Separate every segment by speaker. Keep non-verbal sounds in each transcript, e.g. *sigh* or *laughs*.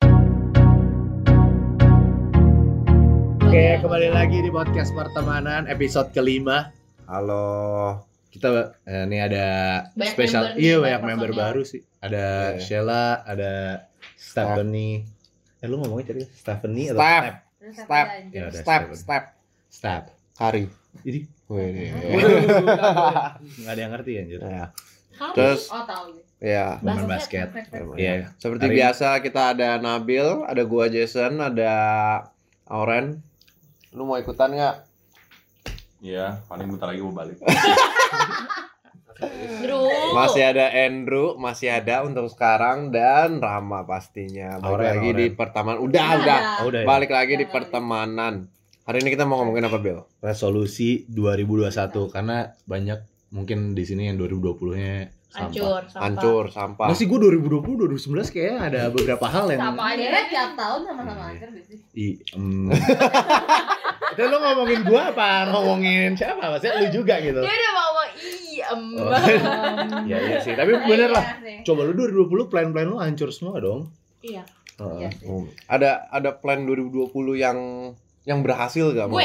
Speaker 1: Iya.
Speaker 2: Oke,
Speaker 3: Iya.
Speaker 2: kembali lagi di podcast pertemanan episode kelima.
Speaker 4: Halo,
Speaker 2: Kita eh, ini ada
Speaker 3: Banyak
Speaker 2: spesial,
Speaker 3: member nih,
Speaker 2: iya
Speaker 3: banyak
Speaker 2: banyak member
Speaker 3: personel.
Speaker 2: baru sih. Ada
Speaker 4: Iya.
Speaker 2: Sheila, ada Stephanie. Eh lu ngomongnya tadi Stephanie atau
Speaker 4: Steph.
Speaker 2: Steph?
Speaker 3: Terus
Speaker 4: Step.
Speaker 3: apa lagi?
Speaker 2: Ya udah
Speaker 4: step,
Speaker 2: Steph.
Speaker 4: step,
Speaker 2: Steph.
Speaker 4: kari.
Speaker 2: Ini
Speaker 4: Wih, iya,
Speaker 2: nggak ada yang ngerti anjir.
Speaker 4: ya.
Speaker 3: Kamu?
Speaker 4: Terus-
Speaker 3: oh tahu
Speaker 1: gitu.
Speaker 4: ya.
Speaker 2: Bukan basket.
Speaker 3: basket.
Speaker 2: Iya.
Speaker 4: Seperti
Speaker 2: Kari.
Speaker 4: biasa kita ada Nabil, ada gua Jason, ada Auren. Lu mau ikutan nggak?
Speaker 5: Iya, paling bentar lagi mau balik.
Speaker 3: Dulu.
Speaker 4: Masih ada Andrew, masih ada untuk sekarang dan Rama pastinya. Balik
Speaker 2: Auren,
Speaker 4: lagi
Speaker 2: Auren.
Speaker 4: di pertemanan. Udah,
Speaker 1: Iya.
Speaker 4: udah.
Speaker 2: Oh, udah ya.
Speaker 4: Balik lagi di
Speaker 3: Udah,
Speaker 4: pertemanan. Hari ini kita mau ngomongin apa, Bill?
Speaker 2: Resolusi 2021 karena banyak mungkin di sini yang 2020-nya sampah.
Speaker 3: hancur sampah.
Speaker 4: Hancur, sampah.
Speaker 2: Masih gue 2020 2019 kayaknya ada beberapa hal yang
Speaker 3: Sama aja kan tiap tahun sama-sama
Speaker 2: Iya.
Speaker 3: hancur gak sih?
Speaker 2: I, *laughs* mm. itu lo ngomongin gua apa ngomongin siapa maksudnya lu juga gitu
Speaker 3: Dia udah mau mau iem.
Speaker 2: Oh. ya iya sih tapi bener lah coba lu 2020 plan plan lu hancur semua dong
Speaker 3: Iya.
Speaker 2: Heeh. Oh,
Speaker 3: Iya.
Speaker 4: Hmm. Ada ada plan 2020 yang yang berhasil gak?
Speaker 3: Gue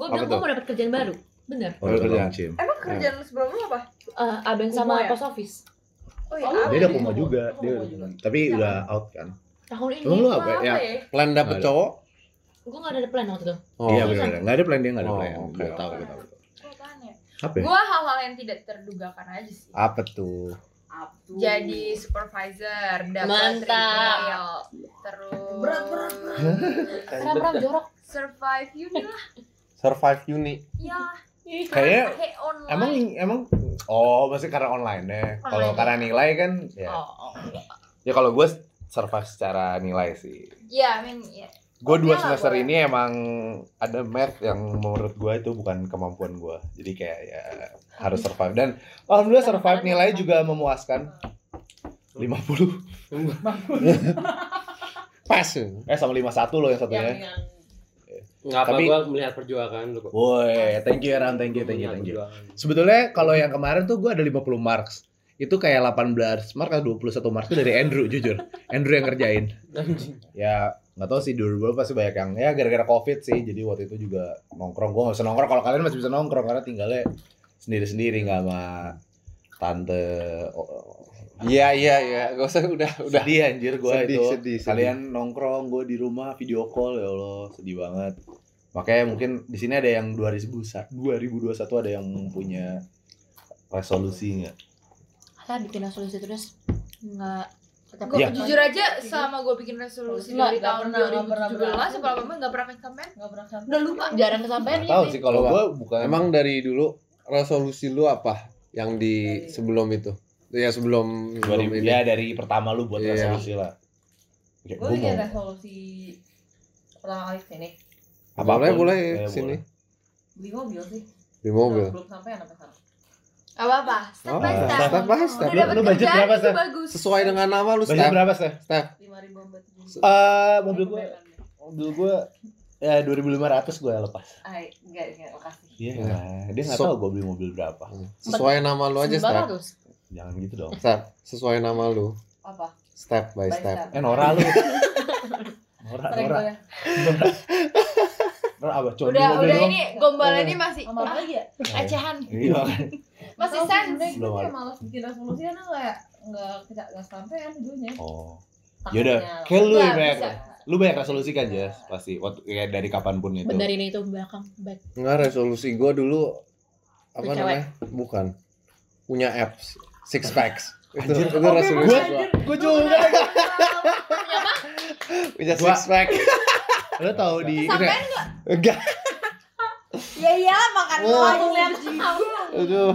Speaker 3: gue
Speaker 4: iya, Apa
Speaker 3: bilang gue
Speaker 4: tuh?
Speaker 3: mau dapat kerjaan baru. Bener.
Speaker 2: Oh, udah
Speaker 4: Iya.
Speaker 2: dong, Cim.
Speaker 1: Emang kerjaan lu sebelum lu apa?
Speaker 3: Eh, abang
Speaker 1: Kumo
Speaker 3: sama
Speaker 1: ya?
Speaker 3: post office.
Speaker 1: Oh iya,
Speaker 3: Oh,
Speaker 1: apa?
Speaker 2: dia udah koma juga
Speaker 1: Koma
Speaker 2: dia
Speaker 1: juga.
Speaker 3: Iya.
Speaker 2: tapi udah out kan
Speaker 3: Tahun ini.
Speaker 2: Emang lu apa?
Speaker 1: Apa
Speaker 2: Ya.
Speaker 3: Iya.
Speaker 1: ya?
Speaker 4: Plan dapet
Speaker 2: Ada.
Speaker 4: cowok?
Speaker 3: Gue gak ada plan waktu itu.
Speaker 4: Oh.
Speaker 2: iya benar nggak ada plan dia nggak ada
Speaker 4: Oh,
Speaker 2: plan
Speaker 4: oke,
Speaker 2: gue
Speaker 4: oke.
Speaker 2: tahu gue tahu
Speaker 1: Gua apaan ya?
Speaker 2: apa ya?
Speaker 1: Gua hal-hal yang tidak terdugakan aja sih.
Speaker 4: Apa tuh?
Speaker 1: Jadi supervisor,
Speaker 3: Mantap.
Speaker 1: dapat trial, terus
Speaker 3: Berat, berat, Ram-ram jorok.
Speaker 1: *laughs* survive uni lah,
Speaker 4: Survive Uni.
Speaker 1: ya
Speaker 2: Kayaknya
Speaker 1: pakai online.
Speaker 2: emang emang oh maksudnya karena online ya kalau
Speaker 1: Online.
Speaker 2: karena nilai kan ya
Speaker 3: Oh, oh.
Speaker 2: ya kalau gue survive secara nilai sih
Speaker 1: Ya, I mean, ya.
Speaker 2: Gue dua
Speaker 1: Oke lah,
Speaker 2: semester
Speaker 1: boleh.
Speaker 2: ini emang ada math yang menurut gue itu bukan kemampuan gue. Jadi kayak ya harus survive. Dan alhamdulillah
Speaker 1: Kan
Speaker 2: survive nilai juga memuaskan.
Speaker 1: *laughs*
Speaker 2: 50.
Speaker 4: Pas.
Speaker 2: Eh sama 51 loh yang
Speaker 3: Yang
Speaker 2: satunya.
Speaker 3: yang
Speaker 6: Nggak apa
Speaker 4: Tapi-
Speaker 6: gua melihat perjuangan lu kok.
Speaker 2: Woi, thank you Ram, Iya, thank
Speaker 1: Iya,
Speaker 2: you, thank you,
Speaker 6: Melihat
Speaker 2: thank you.
Speaker 6: perjuangan.
Speaker 2: Sebetulnya kalau yang kemarin tuh gue ada 50 marks. Itu kayak 18 mark atau 21 mark itu dari Andrew jujur. Andrew yang ngerjain.
Speaker 6: Anjing.
Speaker 2: ya nggak tahu sih dulu dulu pasti banyak yang ya gara-gara covid sih jadi waktu itu juga nongkrong gue nggak bisa nongkrong kalau kalian masih bisa nongkrong karena tinggalnya sendiri-sendiri nggak sama tante oh,
Speaker 4: Iya iya iya, gak usah udah udah.
Speaker 2: sedih anjir gue
Speaker 4: Sedih,
Speaker 2: itu
Speaker 4: sedih, sedih.
Speaker 2: kalian nongkrong gue di rumah video call ya allah sedih banget makanya mungkin di sini ada yang 2000 2021 ada yang punya resolusi nggak
Speaker 3: Saya bikin resolusi terus nggak tetap
Speaker 1: Gua
Speaker 2: Ya.
Speaker 1: jujur aja selama gue bikin resolusi dari
Speaker 3: Nggak, nggak
Speaker 1: tahun
Speaker 3: pernah, nggak pernah
Speaker 1: 2017
Speaker 3: berhasil.
Speaker 1: sampai lama enggak pernah campaign.
Speaker 3: nggak pernah sampai. Udah lupa jarang kesampaian
Speaker 2: tahu
Speaker 3: ini.
Speaker 2: sih kalau
Speaker 4: Coba.
Speaker 2: gue bukan
Speaker 4: Emang dari dulu resolusi lu apa yang di sebelum itu? Ya sebelum sebelum
Speaker 2: 2000
Speaker 4: ini.
Speaker 2: ya dari pertama lu buat
Speaker 4: Iya.
Speaker 2: resolusi lah Kayak
Speaker 1: Gue
Speaker 2: gua
Speaker 1: bikin
Speaker 2: mau-
Speaker 1: resolusi pertama kali sini
Speaker 4: Apa boleh boleh
Speaker 2: Ya,
Speaker 4: sini
Speaker 1: beli mobil sih.
Speaker 4: di mobil.
Speaker 1: Belum sampai anak sekarang.
Speaker 3: Apa apa? Step
Speaker 4: Oh,
Speaker 3: by
Speaker 2: step.
Speaker 3: step.
Speaker 4: Step by
Speaker 3: Udah
Speaker 4: step.
Speaker 2: Lu-
Speaker 3: dapat
Speaker 2: lu budget
Speaker 3: kerjaan
Speaker 2: berapa,
Speaker 3: itu
Speaker 2: Steph?
Speaker 3: bagus.
Speaker 4: Sesuai dengan nama lu,
Speaker 2: Budget
Speaker 4: Steph.
Speaker 2: berapa sih?
Speaker 4: Steph.
Speaker 1: 5.000
Speaker 2: Eh, mobil gue, mobil gue ya 2500 gue lepas.
Speaker 1: Ai, enggak enggak makasih.
Speaker 2: Iya,
Speaker 4: Iya.
Speaker 2: dia nggak
Speaker 4: So-
Speaker 2: tahu gue beli mobil berapa.
Speaker 4: Sesuai nama lu aja, Steph.
Speaker 3: 900.
Speaker 2: Jangan gitu dong.
Speaker 4: Steph, sesuai nama lu.
Speaker 1: Apa?
Speaker 4: Step by step.
Speaker 2: Eh, Nora lu. Nora,
Speaker 1: Sering
Speaker 2: Nora.
Speaker 1: gua- ya.
Speaker 2: *laughs* Nora apa? Cuma beli
Speaker 3: Udah
Speaker 2: mobil
Speaker 3: udah
Speaker 2: doang.
Speaker 3: ini gombal ini masih
Speaker 1: Sama apa lagi ya?
Speaker 2: Oh.
Speaker 3: Ecehan.
Speaker 2: Iya, makanya.
Speaker 3: Masih
Speaker 1: Masih
Speaker 3: sense.
Speaker 1: sense. Gue
Speaker 2: Belum
Speaker 1: gitu kayak
Speaker 2: ada.
Speaker 1: malas bikin resolusi karena kayak enggak kita enggak sampai kan dulunya.
Speaker 2: Oh. Yaudah,
Speaker 1: Takutnya.
Speaker 2: kayak lu
Speaker 3: Nggak,
Speaker 2: yang banyak.
Speaker 3: bisa.
Speaker 2: Lu banyak resolusi kan, Jas? Pasti. Waktu ya dari kapanpun itu.
Speaker 3: Benerin itu belakang back.
Speaker 4: Enggak resolusi gua dulu apa
Speaker 3: Tuh cewek.
Speaker 4: namanya? Bukan. Punya apps, six
Speaker 2: *laughs*
Speaker 4: packs. Itu,
Speaker 2: Anjir.
Speaker 4: itu resolusi
Speaker 2: Gua-
Speaker 4: gua.
Speaker 2: Gue juga.
Speaker 3: *laughs*
Speaker 4: Punya
Speaker 2: Gua-
Speaker 4: six pack.
Speaker 2: Lu tahu di
Speaker 3: Sampai
Speaker 4: Enggak.
Speaker 1: Ya iyalah makan
Speaker 4: Wah.
Speaker 1: doang lihat
Speaker 4: Aduh.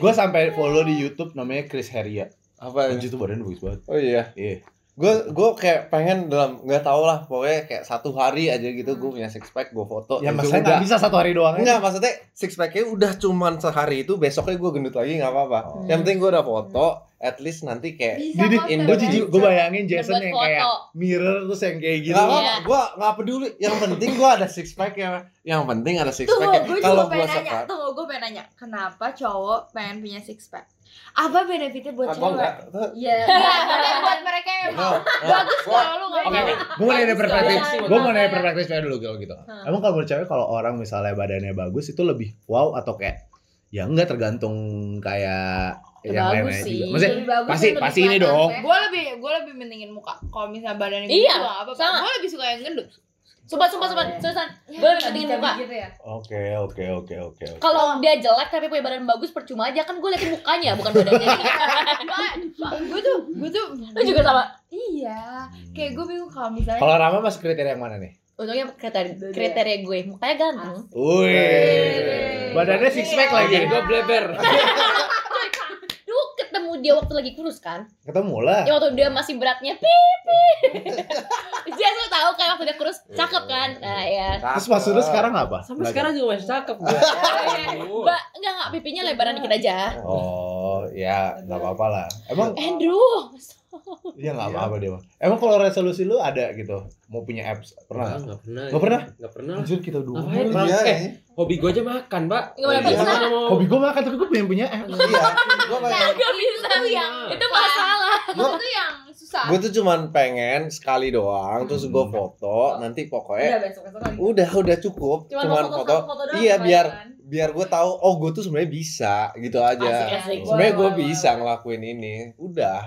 Speaker 2: gue sampai follow di YouTube namanya Chris Heria.
Speaker 4: Apa?
Speaker 2: Anjir tuh badannya bagus banget.
Speaker 4: Oh iya.
Speaker 2: Iya.
Speaker 4: Gue gue kayak pengen dalam nggak tau lah pokoknya kayak satu hari aja gitu gue punya six pack gue foto.
Speaker 2: Ya
Speaker 4: terus
Speaker 2: maksudnya nggak bisa kan? satu hari doang.
Speaker 4: udah. Enggak maksudnya six packnya udah cuman sehari itu besoknya gue gendut lagi nggak apa-apa.
Speaker 2: Oh.
Speaker 4: Yang penting gue udah foto. At least nanti kayak
Speaker 3: bisa
Speaker 2: Didik,
Speaker 3: konten
Speaker 2: gue jijik, gue bayangin Jason
Speaker 3: Buat
Speaker 2: yang kayak
Speaker 3: foto.
Speaker 2: mirror terus yang kayak gitu.
Speaker 4: Gak apa-apa, gue gak peduli. Yang penting gue ada six pack ya. Yang penting ada six
Speaker 1: Tuh,
Speaker 4: pack ya.
Speaker 1: gue juga
Speaker 4: Kalau gue
Speaker 1: pengen nanya.
Speaker 4: sekarang,
Speaker 1: Tuh, gue pengen nanya, kenapa cowok pengen punya six pack?
Speaker 3: Apa benefitnya buat
Speaker 4: Ah,
Speaker 6: Apa enggak?
Speaker 3: cewek?
Speaker 1: Iya.
Speaker 3: Tapi buat mereka
Speaker 7: Eh,
Speaker 3: yang bagus kalau lu nggak
Speaker 6: Oke, oke.
Speaker 3: mau.
Speaker 2: Gue mau nanya
Speaker 3: Bagus
Speaker 2: perspektif,
Speaker 3: kalau
Speaker 2: gue mau
Speaker 3: cewek.
Speaker 2: nanya perspektif cewek dulu kalau gitu.
Speaker 1: Hmm.
Speaker 2: Emang kalau menurut cewek kalau orang misalnya badannya bagus itu lebih wow atau kayak ya enggak tergantung kayak yang lainnya
Speaker 8: Bagus sih.
Speaker 2: juga. Maksudnya
Speaker 1: Lebih bagus
Speaker 2: pasti-
Speaker 1: dan lebih
Speaker 2: pasti ini
Speaker 1: kelihatan
Speaker 2: dong.
Speaker 1: sehat.
Speaker 8: Gue lebih gue lebih mendingin muka. Kalau misalnya badannya
Speaker 3: Iya,
Speaker 8: gitu apa
Speaker 3: sama.
Speaker 8: Gue lebih suka yang gendut.
Speaker 3: Sumpah, sumpah, sumpah, Susan. Gue lebih pentingin
Speaker 1: Cabi-cabi
Speaker 3: muka. Oh.
Speaker 1: gitu ya.
Speaker 2: Oke oke oke oke. oke.
Speaker 3: Kalau dia jelek tapi punya badan bagus percuma aja kan gue liatin mukanya bukan *laughs* badannya.
Speaker 8: Gue tuh gue tuh
Speaker 3: Lu juga sama.
Speaker 8: Iya. Kayak gue bingung kalau misalnya
Speaker 2: Kalau Rama masuk kriteria yang mana nih?
Speaker 3: Untungnya Ah. kriteria, kriteria gue mukanya ganteng.
Speaker 2: Wih, Iya. badannya six pack lagi.
Speaker 6: Jadi gue
Speaker 2: *laughs*
Speaker 6: bleber.
Speaker 3: Lu ketemu dia waktu lagi kurus kan?
Speaker 2: Ketemu lah.
Speaker 3: Ya waktu dia masih beratnya pipi. dia tuh tahu kayak waktu dia
Speaker 5: Iya,
Speaker 3: kurus cakep kan? Nah ya.
Speaker 2: Terus maksud lu sekarang apa?
Speaker 6: Sampai
Speaker 2: Belajar.
Speaker 6: sekarang juga masih cakep
Speaker 2: *laughs*
Speaker 6: gue.
Speaker 3: Mbak, enggak enggak pipinya lebaran dikit aja.
Speaker 2: Oh, ya nggak apa-apa lah. Emang
Speaker 5: Iya.
Speaker 3: Andrew,
Speaker 2: ya nggak apa-apa dia mah. Emang kalau resolusi lu ada gitu, mau punya apps pernah? nggak?
Speaker 6: Enggak pernah.
Speaker 2: Nggak pernah?
Speaker 6: Enggak pernah.
Speaker 2: Anjir kita dua.
Speaker 6: Ngapain?
Speaker 2: Iya. Emang-
Speaker 6: Iya,
Speaker 2: eh,
Speaker 6: Hobi gue aja makan, Mbak.
Speaker 3: Gimana
Speaker 2: bisa?
Speaker 6: Gimana mau-
Speaker 2: hobi gue makan tapi gue pengen punya apps.
Speaker 4: Iya. Gue pengen
Speaker 3: enggak bisa
Speaker 6: Iya.
Speaker 3: Itu masalah.
Speaker 4: Gua-
Speaker 8: itu yang susah.
Speaker 4: gue tuh cuman pengen sekali doang terus gue
Speaker 2: Hmm.
Speaker 4: foto nanti pokoknya
Speaker 2: eh.
Speaker 1: Udah besok-besok lagi.
Speaker 4: udah udah cukup cuman, foto, iya biar biar gue tahu oh gue tuh sebenarnya bisa gitu
Speaker 1: Iya,
Speaker 4: aja
Speaker 3: Asik, asik.
Speaker 4: sebenarnya gue bisa ngelakuin ini udah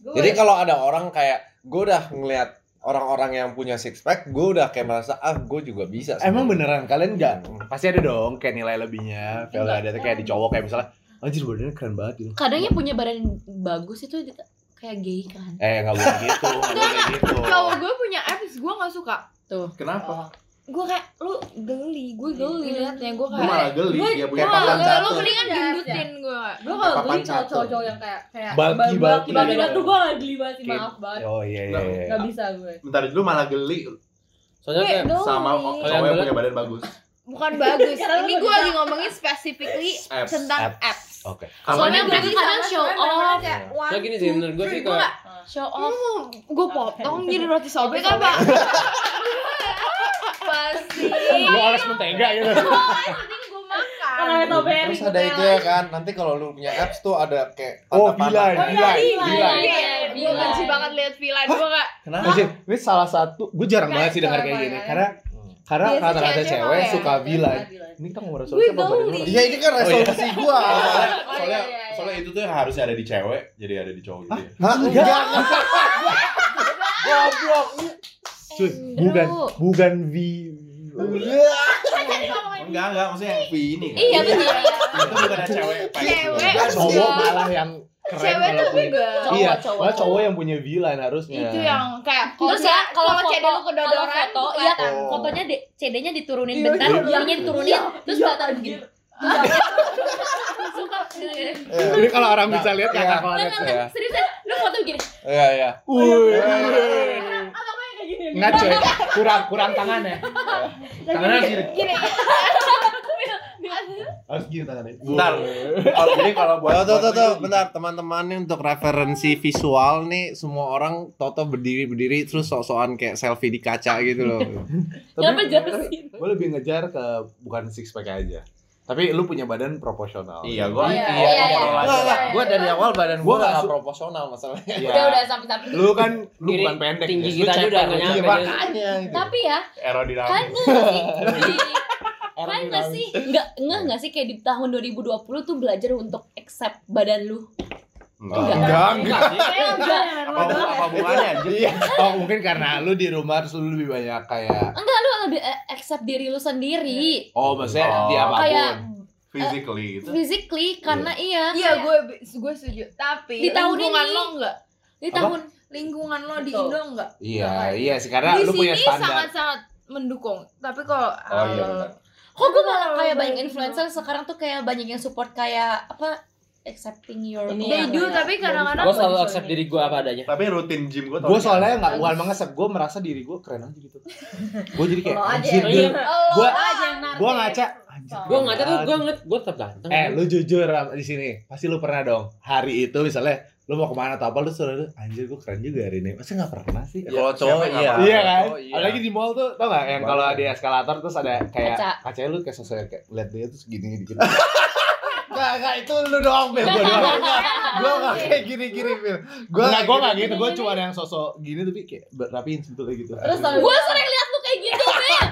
Speaker 1: Gue-
Speaker 4: jadi kalau ada orang kayak gue udah ngeliat orang-orang yang punya six pack gue udah kayak merasa ah gue juga bisa
Speaker 2: Emang
Speaker 4: sebenarnya."
Speaker 2: beneran kalian nggak? Pasti ada dong kayak nilai lebihnya. Kalau ada tuh kayak di cowok kayak misalnya, anjir badannya keren banget gitu.
Speaker 3: Kadang yang punya badan bagus itu di- kayak gay kan.
Speaker 2: Eh nggak boleh gitu, nggak boleh gitu.
Speaker 8: Kalau gue punya apps gue nggak suka.
Speaker 5: Kenapa?
Speaker 2: kan-
Speaker 8: Gue kayak lu geli,
Speaker 3: Iya.
Speaker 8: gue geli liatnya gue
Speaker 5: Gue malah
Speaker 8: kayak.
Speaker 5: geli
Speaker 8: Gue-
Speaker 5: dia
Speaker 8: Gue
Speaker 5: punya
Speaker 8: malah
Speaker 5: papan
Speaker 8: geli, lu
Speaker 5: satu.
Speaker 3: kan
Speaker 8: mendingan
Speaker 1: Iya,
Speaker 8: gendutin gue.
Speaker 1: gue kalau
Speaker 4: Papan
Speaker 1: geli kalau
Speaker 4: satu.
Speaker 1: cowok-cowok yang kayak kayak
Speaker 2: Bagi, bagi.
Speaker 1: banget tuh gue gak geli banget sih
Speaker 2: Kayak-
Speaker 1: maaf banget.
Speaker 2: Oh iya iya. iya.
Speaker 1: Gak bisa gue.
Speaker 5: Bentar dulu malah geli
Speaker 6: Soalnya kayak
Speaker 5: Iya, sama cowok
Speaker 6: Kalian
Speaker 5: yang
Speaker 6: geli?
Speaker 5: punya badan bagus.
Speaker 8: Bukan bagus.
Speaker 1: Karena lu
Speaker 8: Ini
Speaker 1: nggak
Speaker 8: gue
Speaker 1: bisa.
Speaker 8: lagi ngomongin specifically
Speaker 5: Apps.
Speaker 8: tentang
Speaker 2: Apps.
Speaker 8: apps.
Speaker 2: Oke.
Speaker 8: Soalnya
Speaker 5: Kapan
Speaker 8: gue
Speaker 5: ini
Speaker 8: tuh
Speaker 5: geli?
Speaker 8: kadang show
Speaker 3: Iya,
Speaker 8: off.
Speaker 6: Soalnya gini sih, menurut gue sih
Speaker 8: Gue
Speaker 6: kalau-
Speaker 8: nggak
Speaker 3: Show
Speaker 8: Oh,
Speaker 3: off.
Speaker 8: gue potong jadi roti sobek apa? Pasti.
Speaker 2: Lu oles mentega gitu.
Speaker 8: penting gue makan.
Speaker 1: Kalau tau Berry.
Speaker 4: terus ada itu ya kan nanti kalau lu punya apps tuh ada kayak
Speaker 2: Oh,
Speaker 4: tanda panah.
Speaker 2: villa,
Speaker 1: Oh,
Speaker 2: villa,
Speaker 1: iya,
Speaker 2: villa.
Speaker 1: iya.
Speaker 8: Gue benci banget liat Vila. Gue gak.
Speaker 2: Kenapa sih? Ini salah satu, gue jarang banget sih dengar kayak gini karena karena
Speaker 8: Biasa
Speaker 2: kata-kata
Speaker 8: cewek-cewek
Speaker 2: cewek
Speaker 8: ya.
Speaker 2: suka bilang. Ini kita ngomong resolusi apa badan lu?
Speaker 4: iya ini kan resolusi gua
Speaker 5: Oh, *laughs* Soalnya,
Speaker 8: Oh,
Speaker 5: soalnya,
Speaker 8: iya, iya, iya.
Speaker 5: soalnya itu tuh yang harusnya ada di cewek, jadi ada di cowok gitu ya.
Speaker 4: Hah?
Speaker 2: Enggak.
Speaker 4: goblok
Speaker 2: Cuy, bukan bukan V.
Speaker 5: *laughs* Enggak, enggak, maksudnya yang V ini kan.
Speaker 3: Iya betul.
Speaker 5: Itu bukan ada cewek. pengen.
Speaker 8: Cewek.
Speaker 2: Kan cowok
Speaker 8: Iya.
Speaker 2: malah yang keren
Speaker 8: Cewek
Speaker 2: malah
Speaker 8: tuh
Speaker 2: punya.
Speaker 8: juga.
Speaker 3: Cowok,
Speaker 2: Iya,
Speaker 3: cowok.
Speaker 2: malah cowok yang punya V line harusnya.
Speaker 8: Itu yang kayak
Speaker 3: Terus ya kalau
Speaker 8: foto-
Speaker 3: CD lu
Speaker 8: kalau
Speaker 3: kedodoran,
Speaker 8: foto,
Speaker 3: foto,
Speaker 8: iya
Speaker 3: iya kan,
Speaker 4: Oh.
Speaker 3: fotonya di- CD-nya diturunin
Speaker 1: Iya,
Speaker 3: bentar,
Speaker 1: iya,
Speaker 3: filmnya diturunin, terus
Speaker 1: iya,
Speaker 3: batal begini. Terus- Suka.
Speaker 2: Iya. Ini kalau orang bisa lihat
Speaker 4: Iya.
Speaker 2: kakak
Speaker 3: Enggak,
Speaker 2: kelas
Speaker 3: enggak,
Speaker 2: ya.
Speaker 3: enggak. Seriusan, lu foto begini.
Speaker 4: iya iya
Speaker 2: Wuih.
Speaker 1: Kayak gini.
Speaker 2: Ngaco ya. Kurang kurang tangannya. Tangannya harus gini.
Speaker 8: Gini.
Speaker 2: Harus gini tangannya.
Speaker 5: Bentar. Kalau jadi kalau buat
Speaker 4: Tuh, tuh,
Speaker 5: buat
Speaker 4: tuh, tuh,
Speaker 5: lu gitu.
Speaker 4: bentar teman-teman ini untuk referensi visual nih semua orang toto berdiri berdiri terus sok-sokan kayak selfie di kaca gitu loh.
Speaker 3: Kenapa jelasin?
Speaker 2: Gue lebih ngejar ke bukan six pack aja. Tapi lu punya badan proporsional.
Speaker 5: Iya, gua
Speaker 1: Iya,
Speaker 5: iya,
Speaker 3: iya,
Speaker 5: gua
Speaker 3: iya.
Speaker 5: kalau
Speaker 4: Enggak,
Speaker 5: aja.
Speaker 4: enggak, gua dari awal badan
Speaker 2: Gua
Speaker 4: gua
Speaker 2: nggak
Speaker 4: enggak
Speaker 2: su-
Speaker 4: proporsional masalahnya.
Speaker 2: Iya.
Speaker 3: Udah, udah, sampai-sampai.
Speaker 2: Lu kan lu
Speaker 6: Kiri-
Speaker 2: bukan pendek.
Speaker 6: tinggi
Speaker 2: Jess. Lu
Speaker 6: kita kan, aja udah
Speaker 2: ceper.
Speaker 6: nggak
Speaker 2: Iya,
Speaker 6: nyampe.
Speaker 2: makanya.
Speaker 4: Makanya gitu.
Speaker 3: Tapi ya, kan enggak
Speaker 5: Aerodinamis.
Speaker 3: sih? Kan enggak
Speaker 4: Aerodinamis.
Speaker 3: sih? Enggak enggak enggak sih kayak di tahun 2020 tuh belajar untuk accept badan lu.
Speaker 5: Enggak.
Speaker 4: Enggak, enggak.
Speaker 3: Enggak,
Speaker 5: Apa apa hubungannya anjir?
Speaker 2: Oh mungkin karena lu di rumah terus lu lebih banyak kayak
Speaker 3: lu lebih eh, accept diri lu sendiri.
Speaker 2: oh maksudnya
Speaker 5: Oh.
Speaker 2: di apapun.
Speaker 3: Kayak
Speaker 5: Physically gitu. itu.
Speaker 3: physically karena iya.
Speaker 8: Iya,
Speaker 3: kayak
Speaker 8: gue gue setuju. Tapi
Speaker 3: Di tahun
Speaker 8: lingkungan
Speaker 3: ini.
Speaker 8: lo enggak?
Speaker 3: di
Speaker 2: apa?
Speaker 3: tahun
Speaker 8: Lingkungan lo di
Speaker 1: Betul.
Speaker 8: Indo enggak?
Speaker 2: Iya iya sih karena
Speaker 8: di
Speaker 2: lu punya
Speaker 8: sini
Speaker 2: standar.
Speaker 8: sangat-sangat mendukung. Tapi kalau
Speaker 5: Oh
Speaker 7: eh,
Speaker 5: iya.
Speaker 8: awal-
Speaker 5: benar.
Speaker 3: kok gue malah kayak banyak influencer sekarang tuh kayak banyak yang support kayak apa accepting your
Speaker 6: Ini
Speaker 7: ya,
Speaker 8: They do, tapi kadang-kadang
Speaker 6: gue selalu accept diri gue apa adanya.
Speaker 5: Tapi rutin gym gua
Speaker 2: Gue soalnya nggak bukan mengesep, gue merasa diri gue keren aja gitu. Gue jadi kayak
Speaker 1: Lo aja
Speaker 2: anjir
Speaker 1: yang-
Speaker 2: gue
Speaker 1: Lo
Speaker 2: gua
Speaker 1: aja yang narik.
Speaker 2: gue ngaca. anjir,
Speaker 6: Gue
Speaker 2: keren
Speaker 6: ngaca tuh
Speaker 2: banget.
Speaker 6: gue ngeliat gue tetap ganteng.
Speaker 2: Eh lu jujur Ram, di sini pasti lu pernah dong hari itu misalnya lu mau kemana atau apa lu suruh anjir gue keren juga hari ini masa nggak pernah sih
Speaker 4: Kalau cowok
Speaker 5: Siapa
Speaker 4: iya.
Speaker 5: yang
Speaker 2: iya kan
Speaker 4: Cowok, iya.
Speaker 2: apalagi di mall tuh tau gak yang kalau di eskalator terus ada kayak
Speaker 3: Kaca.
Speaker 2: *laughs* kacanya lu kayak sosok kayak lihat dia terus gini gitu
Speaker 4: Enggak, enggak itu lu doang, Bel. Gua doang.
Speaker 1: Iya.
Speaker 4: Gua enggak kayak gini-gini, Bel. Gua
Speaker 2: Enggak, gue gak gitu,
Speaker 3: gini,
Speaker 2: gue
Speaker 3: gini.
Speaker 2: cuma yang sosok gini tapi kayak rapiin sebetulnya gitu
Speaker 1: Terus tau
Speaker 3: Gue sering lihat lu kayak gitu, Bel.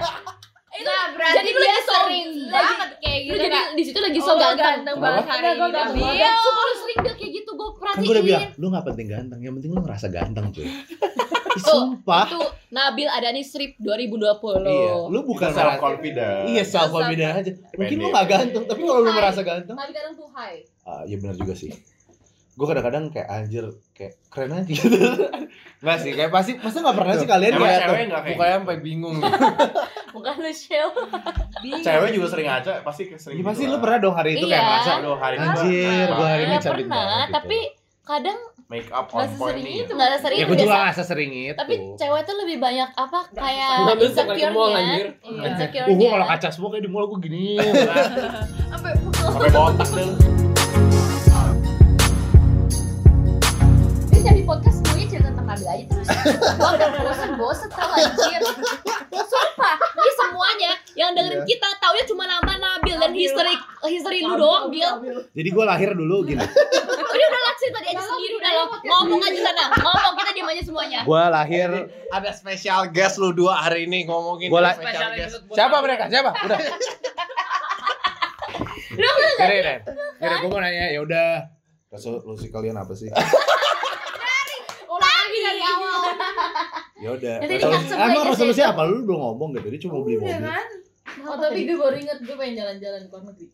Speaker 3: Itu
Speaker 1: Nah, berarti
Speaker 3: jadi
Speaker 1: jadi
Speaker 3: lu
Speaker 1: dia
Speaker 3: lagi sorry.
Speaker 1: sering
Speaker 3: Lagi-
Speaker 1: banget kayak
Speaker 3: lu
Speaker 1: gitu
Speaker 3: jadi
Speaker 1: Kak.
Speaker 3: di situ lagi so
Speaker 1: Oh,
Speaker 3: ganteng.
Speaker 1: ganteng
Speaker 2: Kenapa?
Speaker 1: banget hari
Speaker 8: Enggak,
Speaker 1: ini.
Speaker 8: gua ganteng
Speaker 1: Bil.
Speaker 3: Iya, sumpah lu sering dia kayak gitu, gue
Speaker 2: Kan
Speaker 3: perhatiin.
Speaker 2: gue udah bilang, lu gak penting ganteng, yang penting lu ngerasa ganteng
Speaker 1: *laughs*
Speaker 2: cuy Ih, Sumpah
Speaker 3: Itu Nabil Adani Strip 2020.
Speaker 2: Iya, lu bukan
Speaker 5: self
Speaker 2: merasa-
Speaker 5: confident.
Speaker 2: Iya, self confident aja Mungkin lu gak ganteng, tapi kalau lu merasa ganteng
Speaker 1: Tapi kadang tuh high.
Speaker 2: Ah, Iya benar juga sih Gue kadang-kadang kayak anjir, kayak keren aja gitu *laughs* Enggak sih, kayak pasti, masa gak pernah sih kalian
Speaker 5: Emang
Speaker 2: kayak
Speaker 5: cewek nggak kayak
Speaker 4: Mukanya sampai bingung.
Speaker 2: *laughs*
Speaker 3: Bukan lu Shell.
Speaker 5: gitu? Cewek juga sering ngaca, pasti sering.
Speaker 2: Ya
Speaker 5: gitu
Speaker 2: pasti
Speaker 5: lah.
Speaker 2: lu pernah dong hari itu kayak
Speaker 3: Iya.
Speaker 2: merasa
Speaker 5: Aduh, hari ini
Speaker 2: Anjir,
Speaker 5: gua-
Speaker 2: gue hari ini
Speaker 3: Iya,
Speaker 2: cantik
Speaker 3: pernah,
Speaker 2: banget gitu.
Speaker 3: tapi kadang
Speaker 5: make up on
Speaker 3: nggak
Speaker 5: point
Speaker 3: sesering
Speaker 5: nih.
Speaker 3: itu, nggak sesering
Speaker 2: Ya
Speaker 3: itu
Speaker 2: gue juga gitu."
Speaker 3: biasa.
Speaker 2: gak sesering itu
Speaker 3: Tapi
Speaker 4: Iya.
Speaker 3: cewek tuh lebih banyak apa kayak
Speaker 6: Ngambil sampai ke mall anjir.
Speaker 1: Iya.
Speaker 2: Uh,
Speaker 3: insecure-nya.
Speaker 2: gue kalau
Speaker 3: Insecure-nya.
Speaker 2: kaca semua kayak di mall gue gini
Speaker 7: Iya.
Speaker 1: Sampai
Speaker 5: Sampai botak deh. lu.
Speaker 8: Ini jadi podcast semuanya cerita tentang Nabil aja terus.
Speaker 3: Gua udah bosen-bosen tau anjir Sumpah, ini semuanya yang dengerin kita taunya cuma nama Nabil dan
Speaker 1: Nabil.
Speaker 3: history history lu doang, Bil
Speaker 2: Jadi gue lahir
Speaker 3: *laughs*
Speaker 2: dulu gitu. gini
Speaker 3: Udah udah laksi tadi aja sendiri udah lo
Speaker 1: ya.
Speaker 3: ngomong aja sana, ngomong kita diam aja semuanya.
Speaker 2: Gue lahir
Speaker 4: Ada special guest lu dua hari ini ngomongin
Speaker 2: Gua la-
Speaker 4: special guest.
Speaker 2: Siapa mereka? Siapa? Udah.
Speaker 3: Lu kan
Speaker 2: Gini deh. Gini gue mau nanya ya udah. Resolusi kalian apa sih?
Speaker 1: ulang lagi dari awal.
Speaker 2: Ya udah.
Speaker 3: Nanti
Speaker 2: Resolusi-
Speaker 3: di-cut semua
Speaker 2: Emang
Speaker 3: aja
Speaker 2: resolusi
Speaker 3: sih. Iya
Speaker 2: apa? Lu udah ngomong gitu. Dia cuma beli
Speaker 1: Udah
Speaker 2: mobil.
Speaker 1: kan? Oh tapi gue baru inget gue pengen jalan-jalan ke luar negeri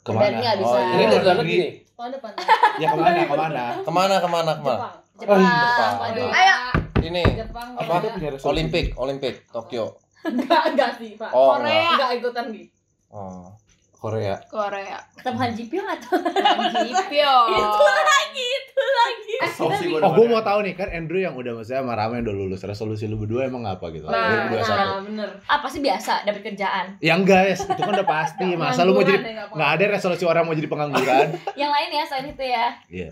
Speaker 2: Kemana?
Speaker 3: nggak bisa.
Speaker 2: Oh,
Speaker 6: Ini
Speaker 2: iya.
Speaker 6: dari dalam gini.
Speaker 1: tahun depan
Speaker 2: Ya kemana? Kemana?
Speaker 4: Kemana kemana kemana?
Speaker 1: Jepang
Speaker 2: Oh,
Speaker 3: Jepang,
Speaker 2: Jepang.
Speaker 3: waduh.
Speaker 1: Ayo.
Speaker 4: Ini
Speaker 1: Jepang
Speaker 4: Apa?
Speaker 1: Korea.
Speaker 4: Olimpik, Olimpik Tokyo.
Speaker 1: Enggak, enggak sih Pak
Speaker 4: Oh,
Speaker 1: Korea Enggak ikutan nih
Speaker 4: Oh.
Speaker 2: Korea.
Speaker 8: Korea.
Speaker 3: Ketemu Haji Pio atau
Speaker 1: Jipyo
Speaker 3: itu lagi, itu lagi.
Speaker 5: Sok sih gua
Speaker 2: Oh, gue mau
Speaker 5: dengerin.
Speaker 2: tahu nih kan Andrew yang udah maksudnya sama Rama yang udah lulus. Resolusi lu berdua emang apa gitu?
Speaker 1: Nah,
Speaker 2: Lu berdua satu.
Speaker 1: nah bener
Speaker 3: Apa sih biasa dapat kerjaan?
Speaker 2: Ya enggak, Yas. itu kan udah pasti. Masa lu mau
Speaker 1: Pengangguran
Speaker 2: jadi
Speaker 1: ya, nggak
Speaker 2: Nggak ada resolusi orang mau jadi pengangguran.
Speaker 3: Yang lain ya selain itu ya.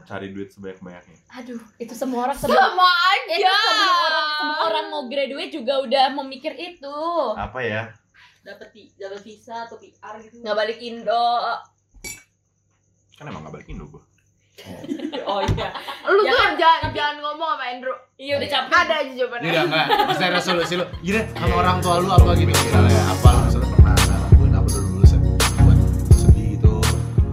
Speaker 5: Cari duit sebanyak-banyaknya.
Speaker 3: Aduh, itu semua orang
Speaker 1: apa-apa.
Speaker 3: sebelum
Speaker 1: Sama
Speaker 3: ya, itu sebelum orang sebelum orang mau graduate juga udah memikir itu.
Speaker 5: Apa ya?
Speaker 1: Dapet, i- dapet visa atau PR gitu
Speaker 3: Nggak balik Indo.
Speaker 5: Kan emang nggak balik Indo gua.
Speaker 3: Oh iya.
Speaker 7: Lu
Speaker 3: Ya
Speaker 7: tuh
Speaker 3: kan?
Speaker 7: jangan, Ya, jangan ngomong sama Andrew.
Speaker 3: Iya udah capek.
Speaker 7: Ada aja jawabannya.
Speaker 2: Iya enggak, maksudnya resolusi lu Gini, sama Kan orang tua lu apa gitu Misalnya apa lu misalnya pernah "Nah, ngelakuin apa dulu dulu Sen? Buat sedih gitu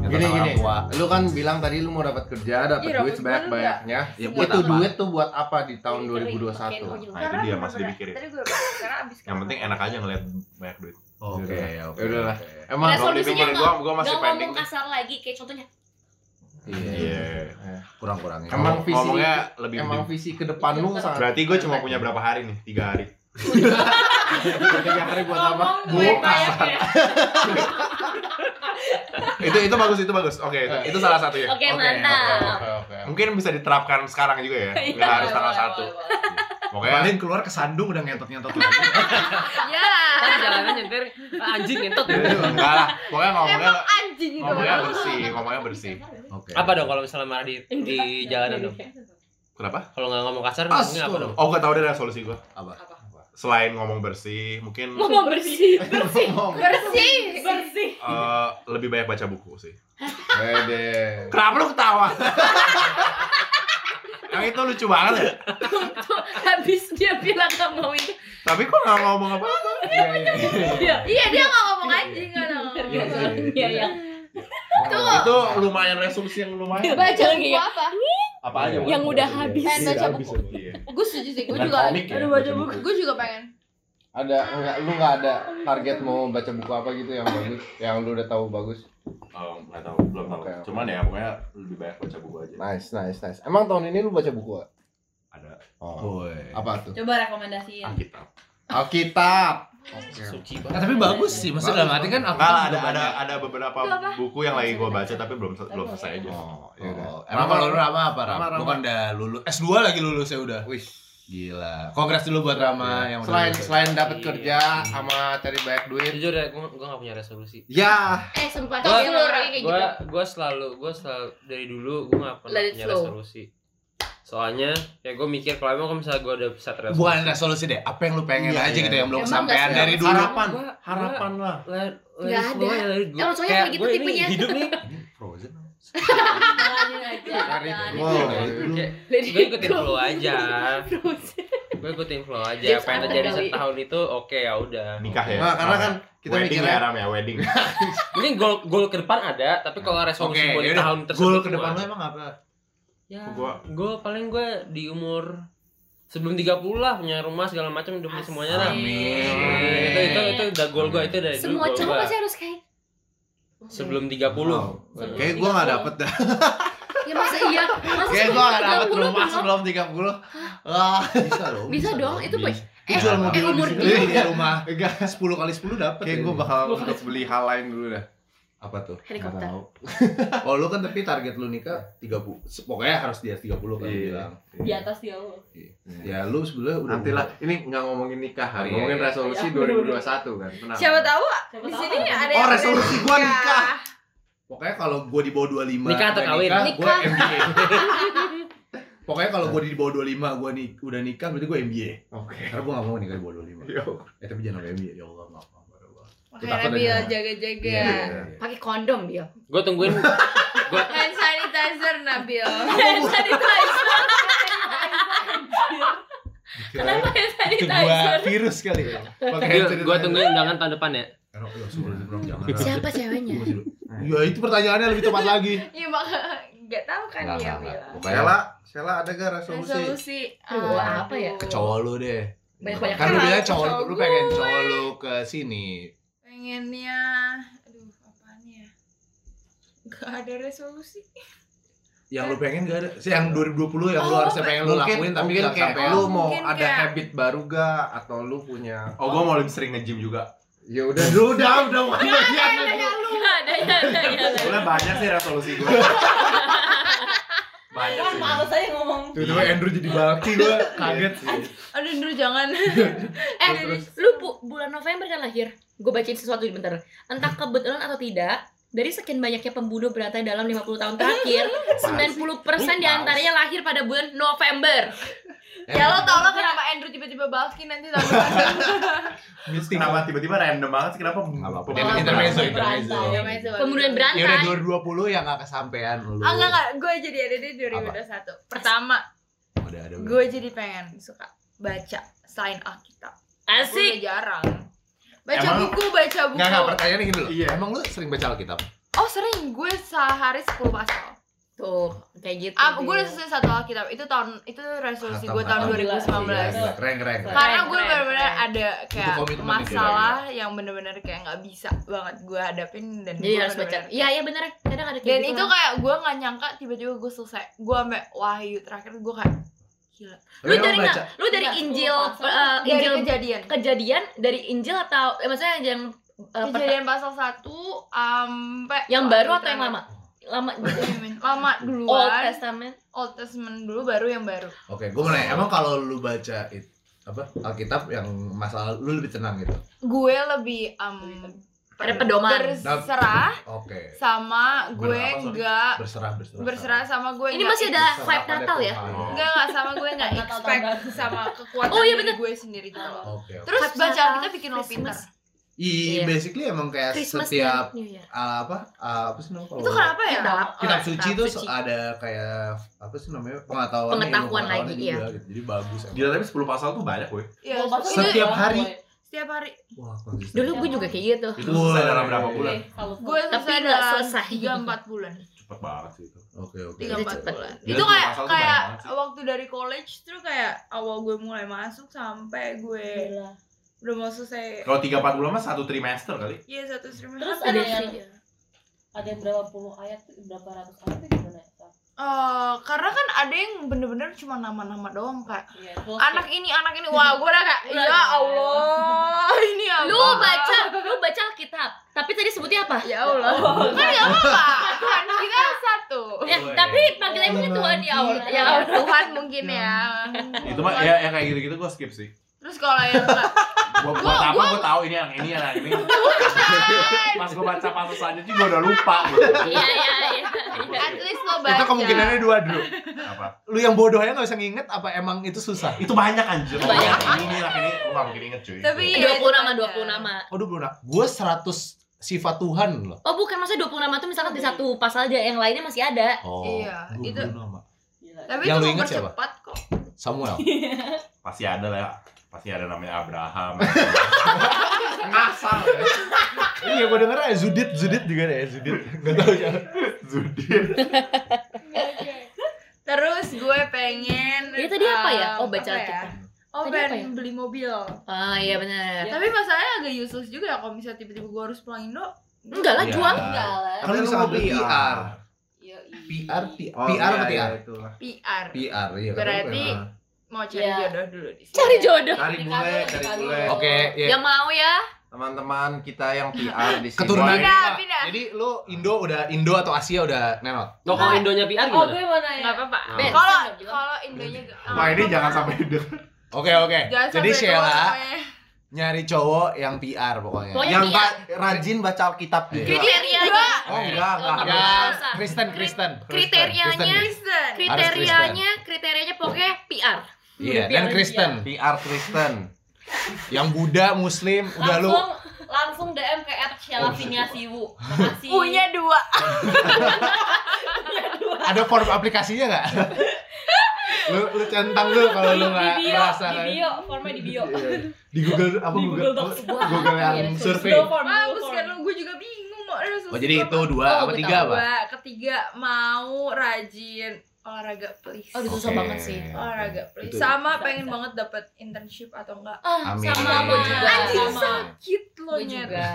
Speaker 2: Yang tentang
Speaker 4: Gini gini.
Speaker 2: orang tua.
Speaker 4: Lu kan bilang tadi lu mau dapat kerja, dapat
Speaker 7: Iya,
Speaker 4: duit
Speaker 7: dapat
Speaker 4: sebanyak-banyaknya.
Speaker 2: Ya buat
Speaker 4: Itu
Speaker 2: apa?
Speaker 4: duit tuh buat apa di tahun
Speaker 3: Oke, gua
Speaker 4: 2021?
Speaker 3: juga.
Speaker 5: Nah itu dia masih dipikirin.
Speaker 7: ya. Tadi gue bilang, karena abis
Speaker 5: Yang penting enak aja ngeliat banyak duit.
Speaker 2: Oke, oke
Speaker 4: Yaudah lah.
Speaker 2: oke.
Speaker 4: Emang
Speaker 3: Ada
Speaker 5: Kalau
Speaker 3: Resolusinya
Speaker 5: dipikirin
Speaker 3: nggak-
Speaker 5: gua, gua masih
Speaker 3: Gak
Speaker 5: pending.
Speaker 3: ngomong kasar lagi kayak contohnya.
Speaker 2: Iya,
Speaker 5: Iya.
Speaker 2: kurang-kurangin
Speaker 4: Emang visi-
Speaker 5: Ngomongnya lebih
Speaker 4: emang
Speaker 5: penting.
Speaker 4: visi ke depan lu sangat
Speaker 5: Berarti gua cuma punya berapa hari nih? Tiga hari.
Speaker 4: tiga hari buat *laughs* apa?
Speaker 7: Ngomong gue kayak
Speaker 5: *laughs* itu itu bagus itu bagus. Oke itu, itu salah satu ya.
Speaker 3: Oke, mantap.
Speaker 4: Oke, oke.
Speaker 5: Mungkin bisa diterapkan sekarang juga ya.
Speaker 3: Iya.
Speaker 5: Nggak harus tanggal
Speaker 1: Boleh,
Speaker 5: satu.
Speaker 1: boleh, boleh.
Speaker 5: *laughs* Pokoknya
Speaker 2: keluar kesandung udah ngentot-ngentot
Speaker 7: ya.
Speaker 6: Jalanan nyetir
Speaker 2: Ah,
Speaker 6: anjing ngentot.
Speaker 5: enggak lah. Pokoknya ngomongnya
Speaker 7: Emang anjing itu.
Speaker 5: ngomongnya bersih, ngomongnya bersih.
Speaker 2: Oke
Speaker 6: Apa dong kalau misalnya marah di di jalanan dong?
Speaker 5: Kenapa?
Speaker 6: Kalau nggak ngomong kasar,
Speaker 2: Astaga.
Speaker 6: ngomongnya apa dong?
Speaker 5: Oh, gue tahu deh resolusi gue.
Speaker 2: Apa?
Speaker 5: Selain ngomong bersih, mungkin
Speaker 3: Ngomong bersih.
Speaker 7: Bersih.
Speaker 3: Bersih.
Speaker 5: eh, lebih banyak baca buku sih.
Speaker 4: Wede.
Speaker 5: Kenapa lu ketawa? Yang itu lucu banget ya.
Speaker 3: Habis dia bilang nggak mau itu.
Speaker 5: Tapi kok nggak ngomong apa?
Speaker 4: Iya, iya, iya.
Speaker 3: Iya.
Speaker 7: Iya dia nggak ngomong anjing kan.
Speaker 2: Iya, iya,
Speaker 3: Iya, iya.
Speaker 5: Itu lumayan resolusi yang lumayan.
Speaker 3: Baca lagi ya.
Speaker 7: apa?
Speaker 5: Apa aja?
Speaker 3: Yang
Speaker 5: Wan?
Speaker 3: udah habis.
Speaker 7: Eh, baca buku.
Speaker 5: Iya.
Speaker 7: Gue setuju sih. Gue
Speaker 5: Dengan
Speaker 7: juga.
Speaker 5: komik ya,
Speaker 7: Aduh
Speaker 5: baca
Speaker 7: baca
Speaker 5: buku.
Speaker 7: buku. Gue juga pengen.
Speaker 4: Ada enggak lu enggak ada target mau baca buku apa gitu yang bagus, yang lu udah tahu bagus.
Speaker 5: Oh, nggak tahu, belum tahu.
Speaker 4: Oke, oke.
Speaker 5: Cuman ya pokoknya lebih banyak baca buku aja.
Speaker 4: Nice, nice, nice. Emang tahun ini lu baca buku gak?
Speaker 5: Ada
Speaker 4: Oh.
Speaker 2: Woi.
Speaker 4: Apa tuh?
Speaker 1: Coba rekomendasiin
Speaker 5: Alkitab.
Speaker 4: Alkitab. Oke.
Speaker 6: Suci
Speaker 2: Nah,
Speaker 6: banget.
Speaker 2: tapi bagus sih, maksudnya dalam arti kan aku
Speaker 5: Enggak lah,
Speaker 2: ada
Speaker 5: ada ada ada beberapa
Speaker 7: Itu apa?
Speaker 5: buku yang lagi gue baca tapi belum belum selesai aja.
Speaker 4: Oh, iya udah.
Speaker 2: Oh, Rama kalau lu Rama apa Rama?
Speaker 4: Rama, Rama.
Speaker 2: Lu kan udah lulus S2 lagi lulus ya udah. Iya.
Speaker 4: Wih.
Speaker 2: Gila. Kongres dulu buat Rama yang udah
Speaker 4: Selain
Speaker 2: lulus.
Speaker 4: selain dapat
Speaker 6: Iya.
Speaker 4: kerja sama cari banyak duit.
Speaker 6: Jujur ya, gue gue nggak punya resolusi.
Speaker 4: Ya,
Speaker 8: Eh sumpah
Speaker 6: Gua-
Speaker 8: dia orangnya kayak
Speaker 6: gue
Speaker 8: gitu.
Speaker 6: gue selalu gue selalu dari dulu gue nggak pernah
Speaker 8: Let it
Speaker 6: punya
Speaker 8: flow.
Speaker 6: resolusi soalnya ya gue mikir kalau emang kalau misalnya gue udah bisa resolusi
Speaker 2: bukan resolusi deh apa yang lu pengen
Speaker 6: Iya,
Speaker 2: aja
Speaker 6: iya.
Speaker 2: gitu yang belum
Speaker 8: Emang
Speaker 2: kesampaian
Speaker 8: nggak sih?
Speaker 2: dari dulu
Speaker 6: Gua- gua-
Speaker 5: lah.
Speaker 6: let, let it
Speaker 8: Nggak
Speaker 6: flow, ya,
Speaker 8: ada. Ya,
Speaker 6: let it go.
Speaker 8: Emang soalnya
Speaker 6: Kayak
Speaker 8: begitu
Speaker 6: gua ini
Speaker 8: gitu *laughs* tipenya.
Speaker 6: hidup nih
Speaker 7: Jalanin aja.
Speaker 6: Cari
Speaker 7: jalanin.
Speaker 4: Wow.
Speaker 6: Kayak,
Speaker 8: Let
Speaker 6: gue
Speaker 8: it
Speaker 6: ikutin
Speaker 8: go.
Speaker 6: flow
Speaker 8: *laughs*
Speaker 6: aja
Speaker 8: Terus.
Speaker 6: gue ikutin flow aja
Speaker 8: James
Speaker 6: apa yang
Speaker 8: Arthur
Speaker 6: terjadi
Speaker 8: kali.
Speaker 6: setahun itu oke ya udah
Speaker 5: Nikah ya.
Speaker 4: Nah, karena kan kita
Speaker 5: wedding
Speaker 4: mikirnya
Speaker 5: ya Ram ya, wedding.
Speaker 6: ini goal goal ke depan ada tapi kalau resolusi
Speaker 5: Oke,
Speaker 6: gue di
Speaker 5: yaudah.
Speaker 6: tahun
Speaker 2: ya.
Speaker 6: tersebut
Speaker 5: Goal ke
Speaker 6: cuma-
Speaker 5: depan lo emang apa?
Speaker 6: ya
Speaker 5: Gua-
Speaker 6: gue paling gue di umur sebelum 30 lah punya rumah segala macam udah punya semuanya lah
Speaker 5: Amin.
Speaker 6: itu itu itu udah goal gue itu dari
Speaker 3: Semua
Speaker 6: dulu goal
Speaker 3: cowok
Speaker 6: gua.
Speaker 3: pasti harus kayak
Speaker 6: sebelum 30
Speaker 4: Wow. Kayak gue gak dapet dah
Speaker 3: Ya masa iya? Masa
Speaker 4: Kayak gue gak dapet
Speaker 3: 30
Speaker 4: rumah
Speaker 3: belum?
Speaker 4: sebelum 30 Wah
Speaker 2: Bisa dong.
Speaker 3: Bisa dong, itu
Speaker 2: bisa.
Speaker 3: Eh,
Speaker 2: Jual
Speaker 3: eh
Speaker 2: mobil
Speaker 3: umur
Speaker 2: di
Speaker 3: dia.
Speaker 2: sini, punya rumah 10 kali 10 dapat.
Speaker 4: Kayak
Speaker 2: ya.
Speaker 4: gue bakal untuk beli hal lain dulu dah
Speaker 2: apa tuh?
Speaker 3: Helikopter.
Speaker 2: Nggak tahu. oh, lu kan tapi target lu nikah 30. Se- Pokoknya harus di atas 30 kan
Speaker 4: Iya.
Speaker 2: bilang.
Speaker 7: Di atas dia lo.
Speaker 2: Ya lu sebenarnya udah
Speaker 5: Nanti lah, ini nggak ngomongin nikah,
Speaker 6: Iya,
Speaker 5: hari
Speaker 4: ya,
Speaker 5: ngomongin
Speaker 6: iya.
Speaker 5: resolusi
Speaker 7: Iya.
Speaker 5: 2021 kan. Tenang.
Speaker 7: Siapa tahu
Speaker 1: Siapa
Speaker 7: di
Speaker 1: tahu.
Speaker 7: sini ada
Speaker 4: Oh
Speaker 7: yang
Speaker 4: resolusi gue nikah
Speaker 2: Pokoknya kalau gua di bawah 25
Speaker 6: Nikah atau
Speaker 2: gua
Speaker 6: kawin?
Speaker 2: Nikah, gua
Speaker 3: Nikah.
Speaker 2: MBA. Pokoknya kalau gua di bawah 25 gua nik udah nikah berarti gua MBA.
Speaker 5: Oke.
Speaker 2: Karena gua gak mau nikah di bawah 25.
Speaker 5: *laughs* Yo.
Speaker 2: Eh tapi jangan sampai MBA ya Allah maaf maaf. maaf, maaf.
Speaker 7: Makanya
Speaker 2: Takut
Speaker 7: Nabil
Speaker 2: ada-
Speaker 7: jaga-jaga.
Speaker 2: Iya, iya, iya.
Speaker 3: Pakai kondom dia.
Speaker 6: gue tungguin
Speaker 7: Hand sanitizer nah, Nabil.
Speaker 2: Kirain
Speaker 4: Itu gue virus kali ya
Speaker 2: pakai headset
Speaker 6: gue
Speaker 2: itu.
Speaker 6: tungguin undangan tahun depan ya
Speaker 2: Karena ya sebelum jangan.
Speaker 3: Siapa ceweknya?
Speaker 2: Ya itu pertanyaannya lebih tepat lagi.
Speaker 7: Iya mak nggak tahu kan
Speaker 2: Nggak,
Speaker 7: dia
Speaker 2: nggak, nggak.
Speaker 7: bilang.
Speaker 2: Pokoknya
Speaker 4: Sela, Sela ada gak resolusi?
Speaker 7: Resolusi
Speaker 3: Aduh,
Speaker 7: ah,
Speaker 3: apa ya?
Speaker 2: ke cowok lu deh.
Speaker 3: Banyak-banyak
Speaker 2: kan lu
Speaker 7: kenal
Speaker 2: bilang
Speaker 7: ke
Speaker 2: cowok,
Speaker 7: cowok
Speaker 2: lu pengen
Speaker 7: gue.
Speaker 2: cowok lu ke sini.
Speaker 7: Pengennya aduh apaan ya? Gak ada resolusi.
Speaker 2: Yang lu pengen gak ada sih yang 2020 yang lu
Speaker 7: Oh,
Speaker 2: harusnya pengen lu
Speaker 4: Mungkin,
Speaker 2: lakuin tapi
Speaker 4: mungkin
Speaker 2: gak
Speaker 4: kayak
Speaker 2: sampai.
Speaker 4: lu
Speaker 7: Mungkin
Speaker 4: mau ada
Speaker 7: kayak-
Speaker 4: habit baru gak? Atau lu punya
Speaker 5: Oh, gua mau lebih sering nge-gym juga.
Speaker 4: Ya udah, udah, udah, udah, udah,
Speaker 7: Gak *laughs* ada ya ada ya.
Speaker 5: Sebenarnya banyak sih resolusi gua. banyak
Speaker 1: Kan
Speaker 5: sih.
Speaker 1: males aja ngomong.
Speaker 2: Tiba-tiba Andrew jadi baki
Speaker 4: *laughs*
Speaker 2: gua kaget sih.
Speaker 7: Aduh dulu jangan.
Speaker 3: *laughs* Eh, lu bu- bulan November kan lahir. Gue bacain sesuatu bentar. Entah kebetulan atau tidak, dari sekian banyaknya pembunuh berantai dalam 50 tahun terakhir, 90% diantaranya lahir pada bulan November.
Speaker 7: ya lo tau lo kenapa Andrew tiba-tiba balkin nanti tahun
Speaker 3: *laughs*
Speaker 7: depan.
Speaker 2: Mistik
Speaker 5: Kenapa tiba-tiba random banget sih? Kenapa?
Speaker 2: apa-apa.
Speaker 5: Kenapa?
Speaker 2: Intermezzo,
Speaker 1: Intermezzo.
Speaker 7: Ya,
Speaker 3: kan?
Speaker 2: intermezzo.
Speaker 7: main sebagai-
Speaker 3: Pembunuhan
Speaker 2: Ya udah
Speaker 3: berantai.
Speaker 2: 2020 yang gak kesampean lu.
Speaker 7: Ah enggak enggak, gue jadi ada di 2021. Pertama,
Speaker 2: Udah ada.
Speaker 7: gue jadi pengen suka baca selain Alkitab. Gue
Speaker 3: Asik.
Speaker 7: udah jarang. Baca
Speaker 5: Emang-
Speaker 7: buku, baca buku.
Speaker 2: Enggak, enggak, pertanyaannya gini loh.
Speaker 5: Iya.
Speaker 2: Emang lu sering baca Alkitab?
Speaker 7: Oh sering, gue sehari 10 pasal.
Speaker 3: Tuh, kayak gitu.
Speaker 7: Ah, gue udah selesai satu Alkitab. Itu tahun itu resolusi gue tahun
Speaker 2: Hatam, hatam. Iya,
Speaker 7: 2019.
Speaker 2: gila. Keren, keren, keren.
Speaker 7: Karena gue
Speaker 3: Keren,
Speaker 7: benar-benar
Speaker 3: keren.
Speaker 7: ada kayak
Speaker 2: komitmen nih,
Speaker 7: masalah yang benar-benar kayak nggak bisa banget gue hadapin dan
Speaker 3: Jadi
Speaker 7: gue
Speaker 3: harus baca.
Speaker 7: bener-bener-
Speaker 3: Iya, iya bener. Kadang ada kayak
Speaker 7: Dan
Speaker 3: gitu
Speaker 7: itu kan
Speaker 3: lah.
Speaker 7: kayak gue nggak nyangka tiba-tiba gue selesai. Gue sampai wahyu terakhir gue kayak gila.
Speaker 3: Lu
Speaker 2: Emang
Speaker 3: dari
Speaker 2: baca?
Speaker 3: nggak- Lu dari
Speaker 1: Enggak,
Speaker 3: Injil
Speaker 1: sepuluh pasal.
Speaker 3: eh,
Speaker 7: Dari
Speaker 3: Injil
Speaker 7: kejadian.
Speaker 3: kejadian dari Injil atau eh, maksudnya yang eh, perta-
Speaker 7: Kejadian pasal 1 sampai Iya,
Speaker 3: yang baru atau yang lama? Lama
Speaker 7: Lama
Speaker 3: *laughs* Old
Speaker 7: duluan.
Speaker 3: Testament.
Speaker 7: Old Testament dulu baru yang baru.
Speaker 2: Oke, gue mau nanya, emang kalau lu baca it, apa Alkitab yang masalah lu lebih tenang gitu?
Speaker 7: Gue lebih um,
Speaker 3: Ada pedoman.
Speaker 7: Berserah
Speaker 2: Oke,
Speaker 7: sama gue
Speaker 2: Berapa, sorry?
Speaker 7: nggak
Speaker 2: berserah, berserah.
Speaker 7: berserah sama gue
Speaker 3: Ini
Speaker 7: nggak
Speaker 3: masih ada
Speaker 2: Berserah
Speaker 3: vibe
Speaker 2: pada
Speaker 3: Natal ya?
Speaker 2: Tuhan.
Speaker 7: Enggak, enggak sama gue
Speaker 3: *laughs*
Speaker 7: enggak
Speaker 1: Nggak tahu
Speaker 7: expect
Speaker 1: tambah.
Speaker 7: sama kekuatan
Speaker 3: Oh, iya
Speaker 7: diri
Speaker 3: bener.
Speaker 7: gue sendiri gitu loh.
Speaker 2: Oke. oke.
Speaker 7: Terus
Speaker 3: Vibes
Speaker 7: bacaan
Speaker 3: Natal,
Speaker 7: kita bikin lo pintar.
Speaker 2: I
Speaker 3: Christmas. Iya.
Speaker 2: basically emang kayak
Speaker 3: Christmas
Speaker 2: setiap
Speaker 3: dan New Year.
Speaker 2: uh, apa uh, apa sih namanya kalau
Speaker 7: Itu kenapa ya?
Speaker 3: Kitab.
Speaker 2: kitab suci
Speaker 3: Kitab
Speaker 2: tuh
Speaker 3: suci.
Speaker 2: ada kayak apa sih namanya pengetahuan
Speaker 3: Pengetahuan lagi, iya.
Speaker 2: gitu. Jadi bagus. emang.
Speaker 5: Gila tapi 10 pasal tuh banyak, woi.
Speaker 7: Iya,
Speaker 1: Kalau bahasa
Speaker 7: itu
Speaker 2: Setiap
Speaker 1: Inggris,
Speaker 2: hari.
Speaker 1: gue.
Speaker 7: setiap hari.
Speaker 2: Wah, konsisten.
Speaker 3: Dulu gue juga kayak gitu.
Speaker 5: Itu selesai
Speaker 2: Woi.
Speaker 5: dalam berapa bulan?
Speaker 2: Iya.
Speaker 1: Oke, kalau-
Speaker 7: Gue
Speaker 3: Tapi
Speaker 7: selesai
Speaker 3: nggak
Speaker 7: dalam
Speaker 3: selesai.
Speaker 7: 3-4 bulan.
Speaker 5: Cepet banget sih itu.
Speaker 2: Oke, oke.
Speaker 7: tiga empat
Speaker 3: cepet.
Speaker 7: bulan
Speaker 5: Gila,
Speaker 7: itu
Speaker 5: sepuluh
Speaker 7: kayak
Speaker 5: pasal tuh
Speaker 7: kayak
Speaker 5: banyak banget sih.
Speaker 7: waktu dari college tuh kayak awal gue mulai masuk sampai gue
Speaker 1: Gila.
Speaker 7: udah mau selesai
Speaker 5: Kalau 3 4 bulan mah satu trimester kali.
Speaker 7: iya satu stream
Speaker 1: Terus
Speaker 7: Eh,
Speaker 1: ada yang ada yang berapa puluh ayat, berapa ratus ayat itu gimana? ya?
Speaker 7: karena kan ada yang bener-bener cuma nama-nama doang kak
Speaker 1: Iya, terus
Speaker 7: anak ini anak ini wah gue udah kayak
Speaker 1: Udah.
Speaker 7: ya allah *laughs* ini apa
Speaker 3: Lu baca, lu baca Alkitab. Tapi tadi sebutnya apa?
Speaker 7: ya allah kan gak apa-apa Tuhan kita satu
Speaker 3: Ya,
Speaker 2: Oh,
Speaker 3: tapi
Speaker 2: iya.
Speaker 3: panggilannya Tuhan ya Allah. Ya
Speaker 7: ya
Speaker 3: Allah.
Speaker 7: Tuhan mungkin
Speaker 2: *laughs*
Speaker 7: ya
Speaker 5: Itu mah ya yang kayak gitu-gitu gua skip sih.
Speaker 7: terus kalau yang
Speaker 5: Gua buat apa gua tahu ini yang ini yang ini. Pas gua baca pasal selanjutnya gua udah lupa gitu.
Speaker 3: Iya, iya, iya.
Speaker 7: at least lo baca
Speaker 2: Itu kemungkinannya dua dulu.
Speaker 5: Apa?
Speaker 2: Lu yang bodohnya nggak usah nginget apa emang itu susah?
Speaker 5: Itu banyak anjir.
Speaker 3: Banyak. Iya,
Speaker 5: Yang Ini ini yang ini gua enggak mungkin inget cuy.
Speaker 7: tapi ya,
Speaker 3: Dua puluh
Speaker 7: itu
Speaker 3: nama, dua
Speaker 7: aja.
Speaker 3: puluh nama.
Speaker 2: Oh, dulu gue seratus sifat Tuhan loh.
Speaker 3: Oh bukan, maksudnya 20 nama tuh misalkan di satu pasal aja, yang lainnya masih ada
Speaker 2: Oh,
Speaker 7: Iya,
Speaker 2: dua
Speaker 7: itu-
Speaker 2: puluh nama.
Speaker 1: Gila.
Speaker 7: Tapi
Speaker 2: Yang lu
Speaker 7: itu
Speaker 2: inget siapa?
Speaker 7: mempercepat kok.
Speaker 2: Samuel.
Speaker 5: Pasti ada lah. ya. Pasti ada namanya Abraham. Ngasal. ya.
Speaker 2: iya, gue denger ya Zudit, Zudit juga deh, Zudit. Gak tau siapa.
Speaker 5: Zudin.
Speaker 7: Terus gue pengen
Speaker 3: Iya, tadi apa ya?
Speaker 7: um,
Speaker 3: Oh, baca
Speaker 7: apa ya?
Speaker 3: Alkitab.
Speaker 7: Oh,
Speaker 3: Tadi
Speaker 7: pengen
Speaker 3: apa ya?
Speaker 7: beli mobil.
Speaker 3: Oh iya bener
Speaker 7: Tapi masalahnya agak useless juga ya kalau misalnya tiba-tiba gue harus pulang Indo.
Speaker 3: Enggak lah,
Speaker 2: Iya.
Speaker 3: jual
Speaker 1: Enggak lah.
Speaker 2: Kan bisa ngambil PR.
Speaker 1: Iya, iya.
Speaker 2: PR, PR apa
Speaker 4: Iya,
Speaker 2: PR?
Speaker 7: PR.
Speaker 2: PR, iya. kan?
Speaker 7: Berarti
Speaker 2: Nah.
Speaker 7: Mau cari
Speaker 1: Iya.
Speaker 7: jodoh dulu di sini.
Speaker 3: Cari jodoh
Speaker 4: Cari
Speaker 1: Nikah
Speaker 4: bule,
Speaker 1: dulu,
Speaker 4: cari
Speaker 1: nikah
Speaker 4: bule.
Speaker 1: dulu.
Speaker 2: Oke, ya.
Speaker 3: Ya mau ya
Speaker 4: Teman-teman kita yang PR di sini.
Speaker 2: Keturunan.
Speaker 7: Pindah,
Speaker 2: Nah,
Speaker 7: pindah.
Speaker 2: Jadi lu Indo udah Indo atau Asia udah nenok.
Speaker 6: Loh kalau Indonya PR
Speaker 1: Oh,
Speaker 6: gimana?
Speaker 1: gue mau
Speaker 7: Enggak
Speaker 1: nanya.
Speaker 7: apa-apa.
Speaker 4: Ben.
Speaker 7: Kalau
Speaker 1: Ben, bilang.
Speaker 7: kalau Indonya
Speaker 5: Wah Nah, ini jangan sampai denger.
Speaker 2: Oke, oke.
Speaker 7: Jangan
Speaker 2: Jadi
Speaker 7: sampai keluar
Speaker 2: Sheila
Speaker 7: namanya.
Speaker 2: nyari cowok yang PR pokoknya.
Speaker 3: Pokoknya
Speaker 2: yang
Speaker 4: Yang ba rajin baca Alkitab juga.
Speaker 7: Jadi dua
Speaker 4: Oh enggak, enggak.
Speaker 3: Nggak
Speaker 2: ya,
Speaker 3: usah.
Speaker 2: Kristen, Kristen.
Speaker 3: kriterianya-
Speaker 2: Kristen.
Speaker 7: Kristen.
Speaker 3: Kriterianya, kriterianya pokoknya PR
Speaker 2: Iya,
Speaker 3: Udah
Speaker 2: dan
Speaker 3: PR.
Speaker 2: Kristen.
Speaker 4: PR Kristen.
Speaker 2: Yang Buddha, Muslim, udah lu. Oh,
Speaker 1: Langsung langsung DM ke at Sheila Vinia
Speaker 3: *laughs*
Speaker 1: Siwu. Makasih.
Speaker 7: Punya dua.
Speaker 2: Ada form aplikasinya nggak? lu lu centang lu kalau lu nggak
Speaker 1: di bio,
Speaker 2: merasa
Speaker 1: di bio, formnya di bio.
Speaker 2: Iya. Di Google apa
Speaker 1: Di
Speaker 2: Google?
Speaker 1: Google Docs.
Speaker 2: Google yang
Speaker 1: Iya,
Speaker 2: survei.
Speaker 1: Google Form, Google
Speaker 7: Bagus
Speaker 1: Form.
Speaker 7: kan lu gue juga bingung mau ada
Speaker 2: Oh jadi
Speaker 7: sesuatu
Speaker 2: itu dua
Speaker 3: Oh,
Speaker 2: apa
Speaker 3: gue
Speaker 2: tiga
Speaker 3: tahu.
Speaker 2: apa?
Speaker 7: Dua, ketiga mau rajin olahraga please.
Speaker 3: Oh, itu susah
Speaker 2: Oke.
Speaker 3: banget sih.
Speaker 7: olahraga please.
Speaker 2: Itu-
Speaker 7: sama
Speaker 1: Bisa,
Speaker 7: pengen
Speaker 1: bisa.
Speaker 7: banget dapat internship atau enggak.
Speaker 3: Ah,
Speaker 2: Amin.
Speaker 3: sama gue juga
Speaker 7: Anjing
Speaker 3: sama.
Speaker 7: sakit lo
Speaker 3: Gue
Speaker 7: nyari.
Speaker 3: juga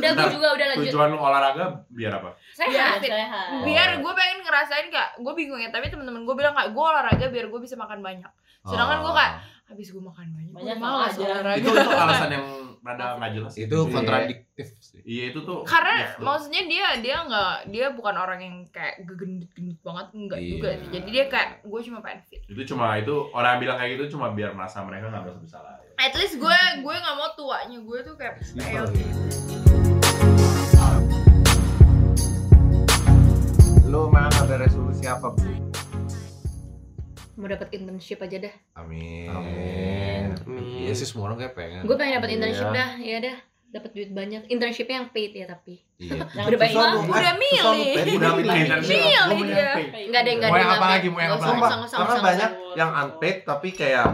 Speaker 3: Udah gue juga, udah lanjut
Speaker 5: Tujuan lu olahraga biar apa?
Speaker 3: Saya
Speaker 7: Biar,
Speaker 1: Iya, Sehat.
Speaker 7: biar gue pengen ngerasain kayak gue bingung ya tapi temen-temen gue bilang kayak gue olahraga biar gue bisa makan banyak Sedangkan gua kayak, habis gue makan banyak,
Speaker 1: Banyak
Speaker 7: gue malas
Speaker 1: aja.
Speaker 7: olahraga
Speaker 5: Itu itu
Speaker 7: *laughs*
Speaker 5: alasan yang rada nggak jelas.
Speaker 2: itu
Speaker 5: Iya.
Speaker 2: kontradiktif sih.
Speaker 5: Iya itu tuh.
Speaker 7: karena
Speaker 5: yes, tuh.
Speaker 7: maksudnya dia dia nggak dia bukan orang yang kayak gegendut-gendut banget enggak
Speaker 2: Iya.
Speaker 7: juga sih jadi dia kayak gue cuma pengen fit
Speaker 5: itu cuma itu orang yang bilang kayak gitu cuma biar merasa mereka nggak merasa bersalah.
Speaker 7: at least gue gue nggak mau tuanya gue tuh kayak kayak-
Speaker 4: Lu memang ada resolusi apa? Bu?
Speaker 3: Mau dapet internship aja dah
Speaker 2: Amin.
Speaker 4: Amin.
Speaker 2: Iya sih semua orang kayak pengen.
Speaker 3: Gue pengen dapet internship
Speaker 4: Iya.
Speaker 3: dah, ya dah Dapat duit banyak, internshipnya yang paid ya tapi
Speaker 2: Iya.
Speaker 4: Nah,
Speaker 1: Yang
Speaker 3: Udah baik
Speaker 1: susah
Speaker 3: banget.
Speaker 1: lu.
Speaker 7: udah
Speaker 4: Susah lu, eh, Ben.
Speaker 7: milih
Speaker 5: Udah milih dan
Speaker 7: Milih
Speaker 5: bilang, "Gua
Speaker 7: dia.
Speaker 5: milih yang
Speaker 3: Enggak deh, enggak
Speaker 2: Mau
Speaker 3: deh
Speaker 2: yang
Speaker 3: nggak
Speaker 2: apa
Speaker 3: ada.
Speaker 2: lagi? Mau yang
Speaker 3: Nggak
Speaker 2: apa
Speaker 3: usah,
Speaker 2: lagi?
Speaker 3: nggak usah,
Speaker 4: Sumpah,
Speaker 3: nggak usah,
Speaker 4: karena
Speaker 3: nggak usah.
Speaker 4: banyak yang unpaid tapi kayak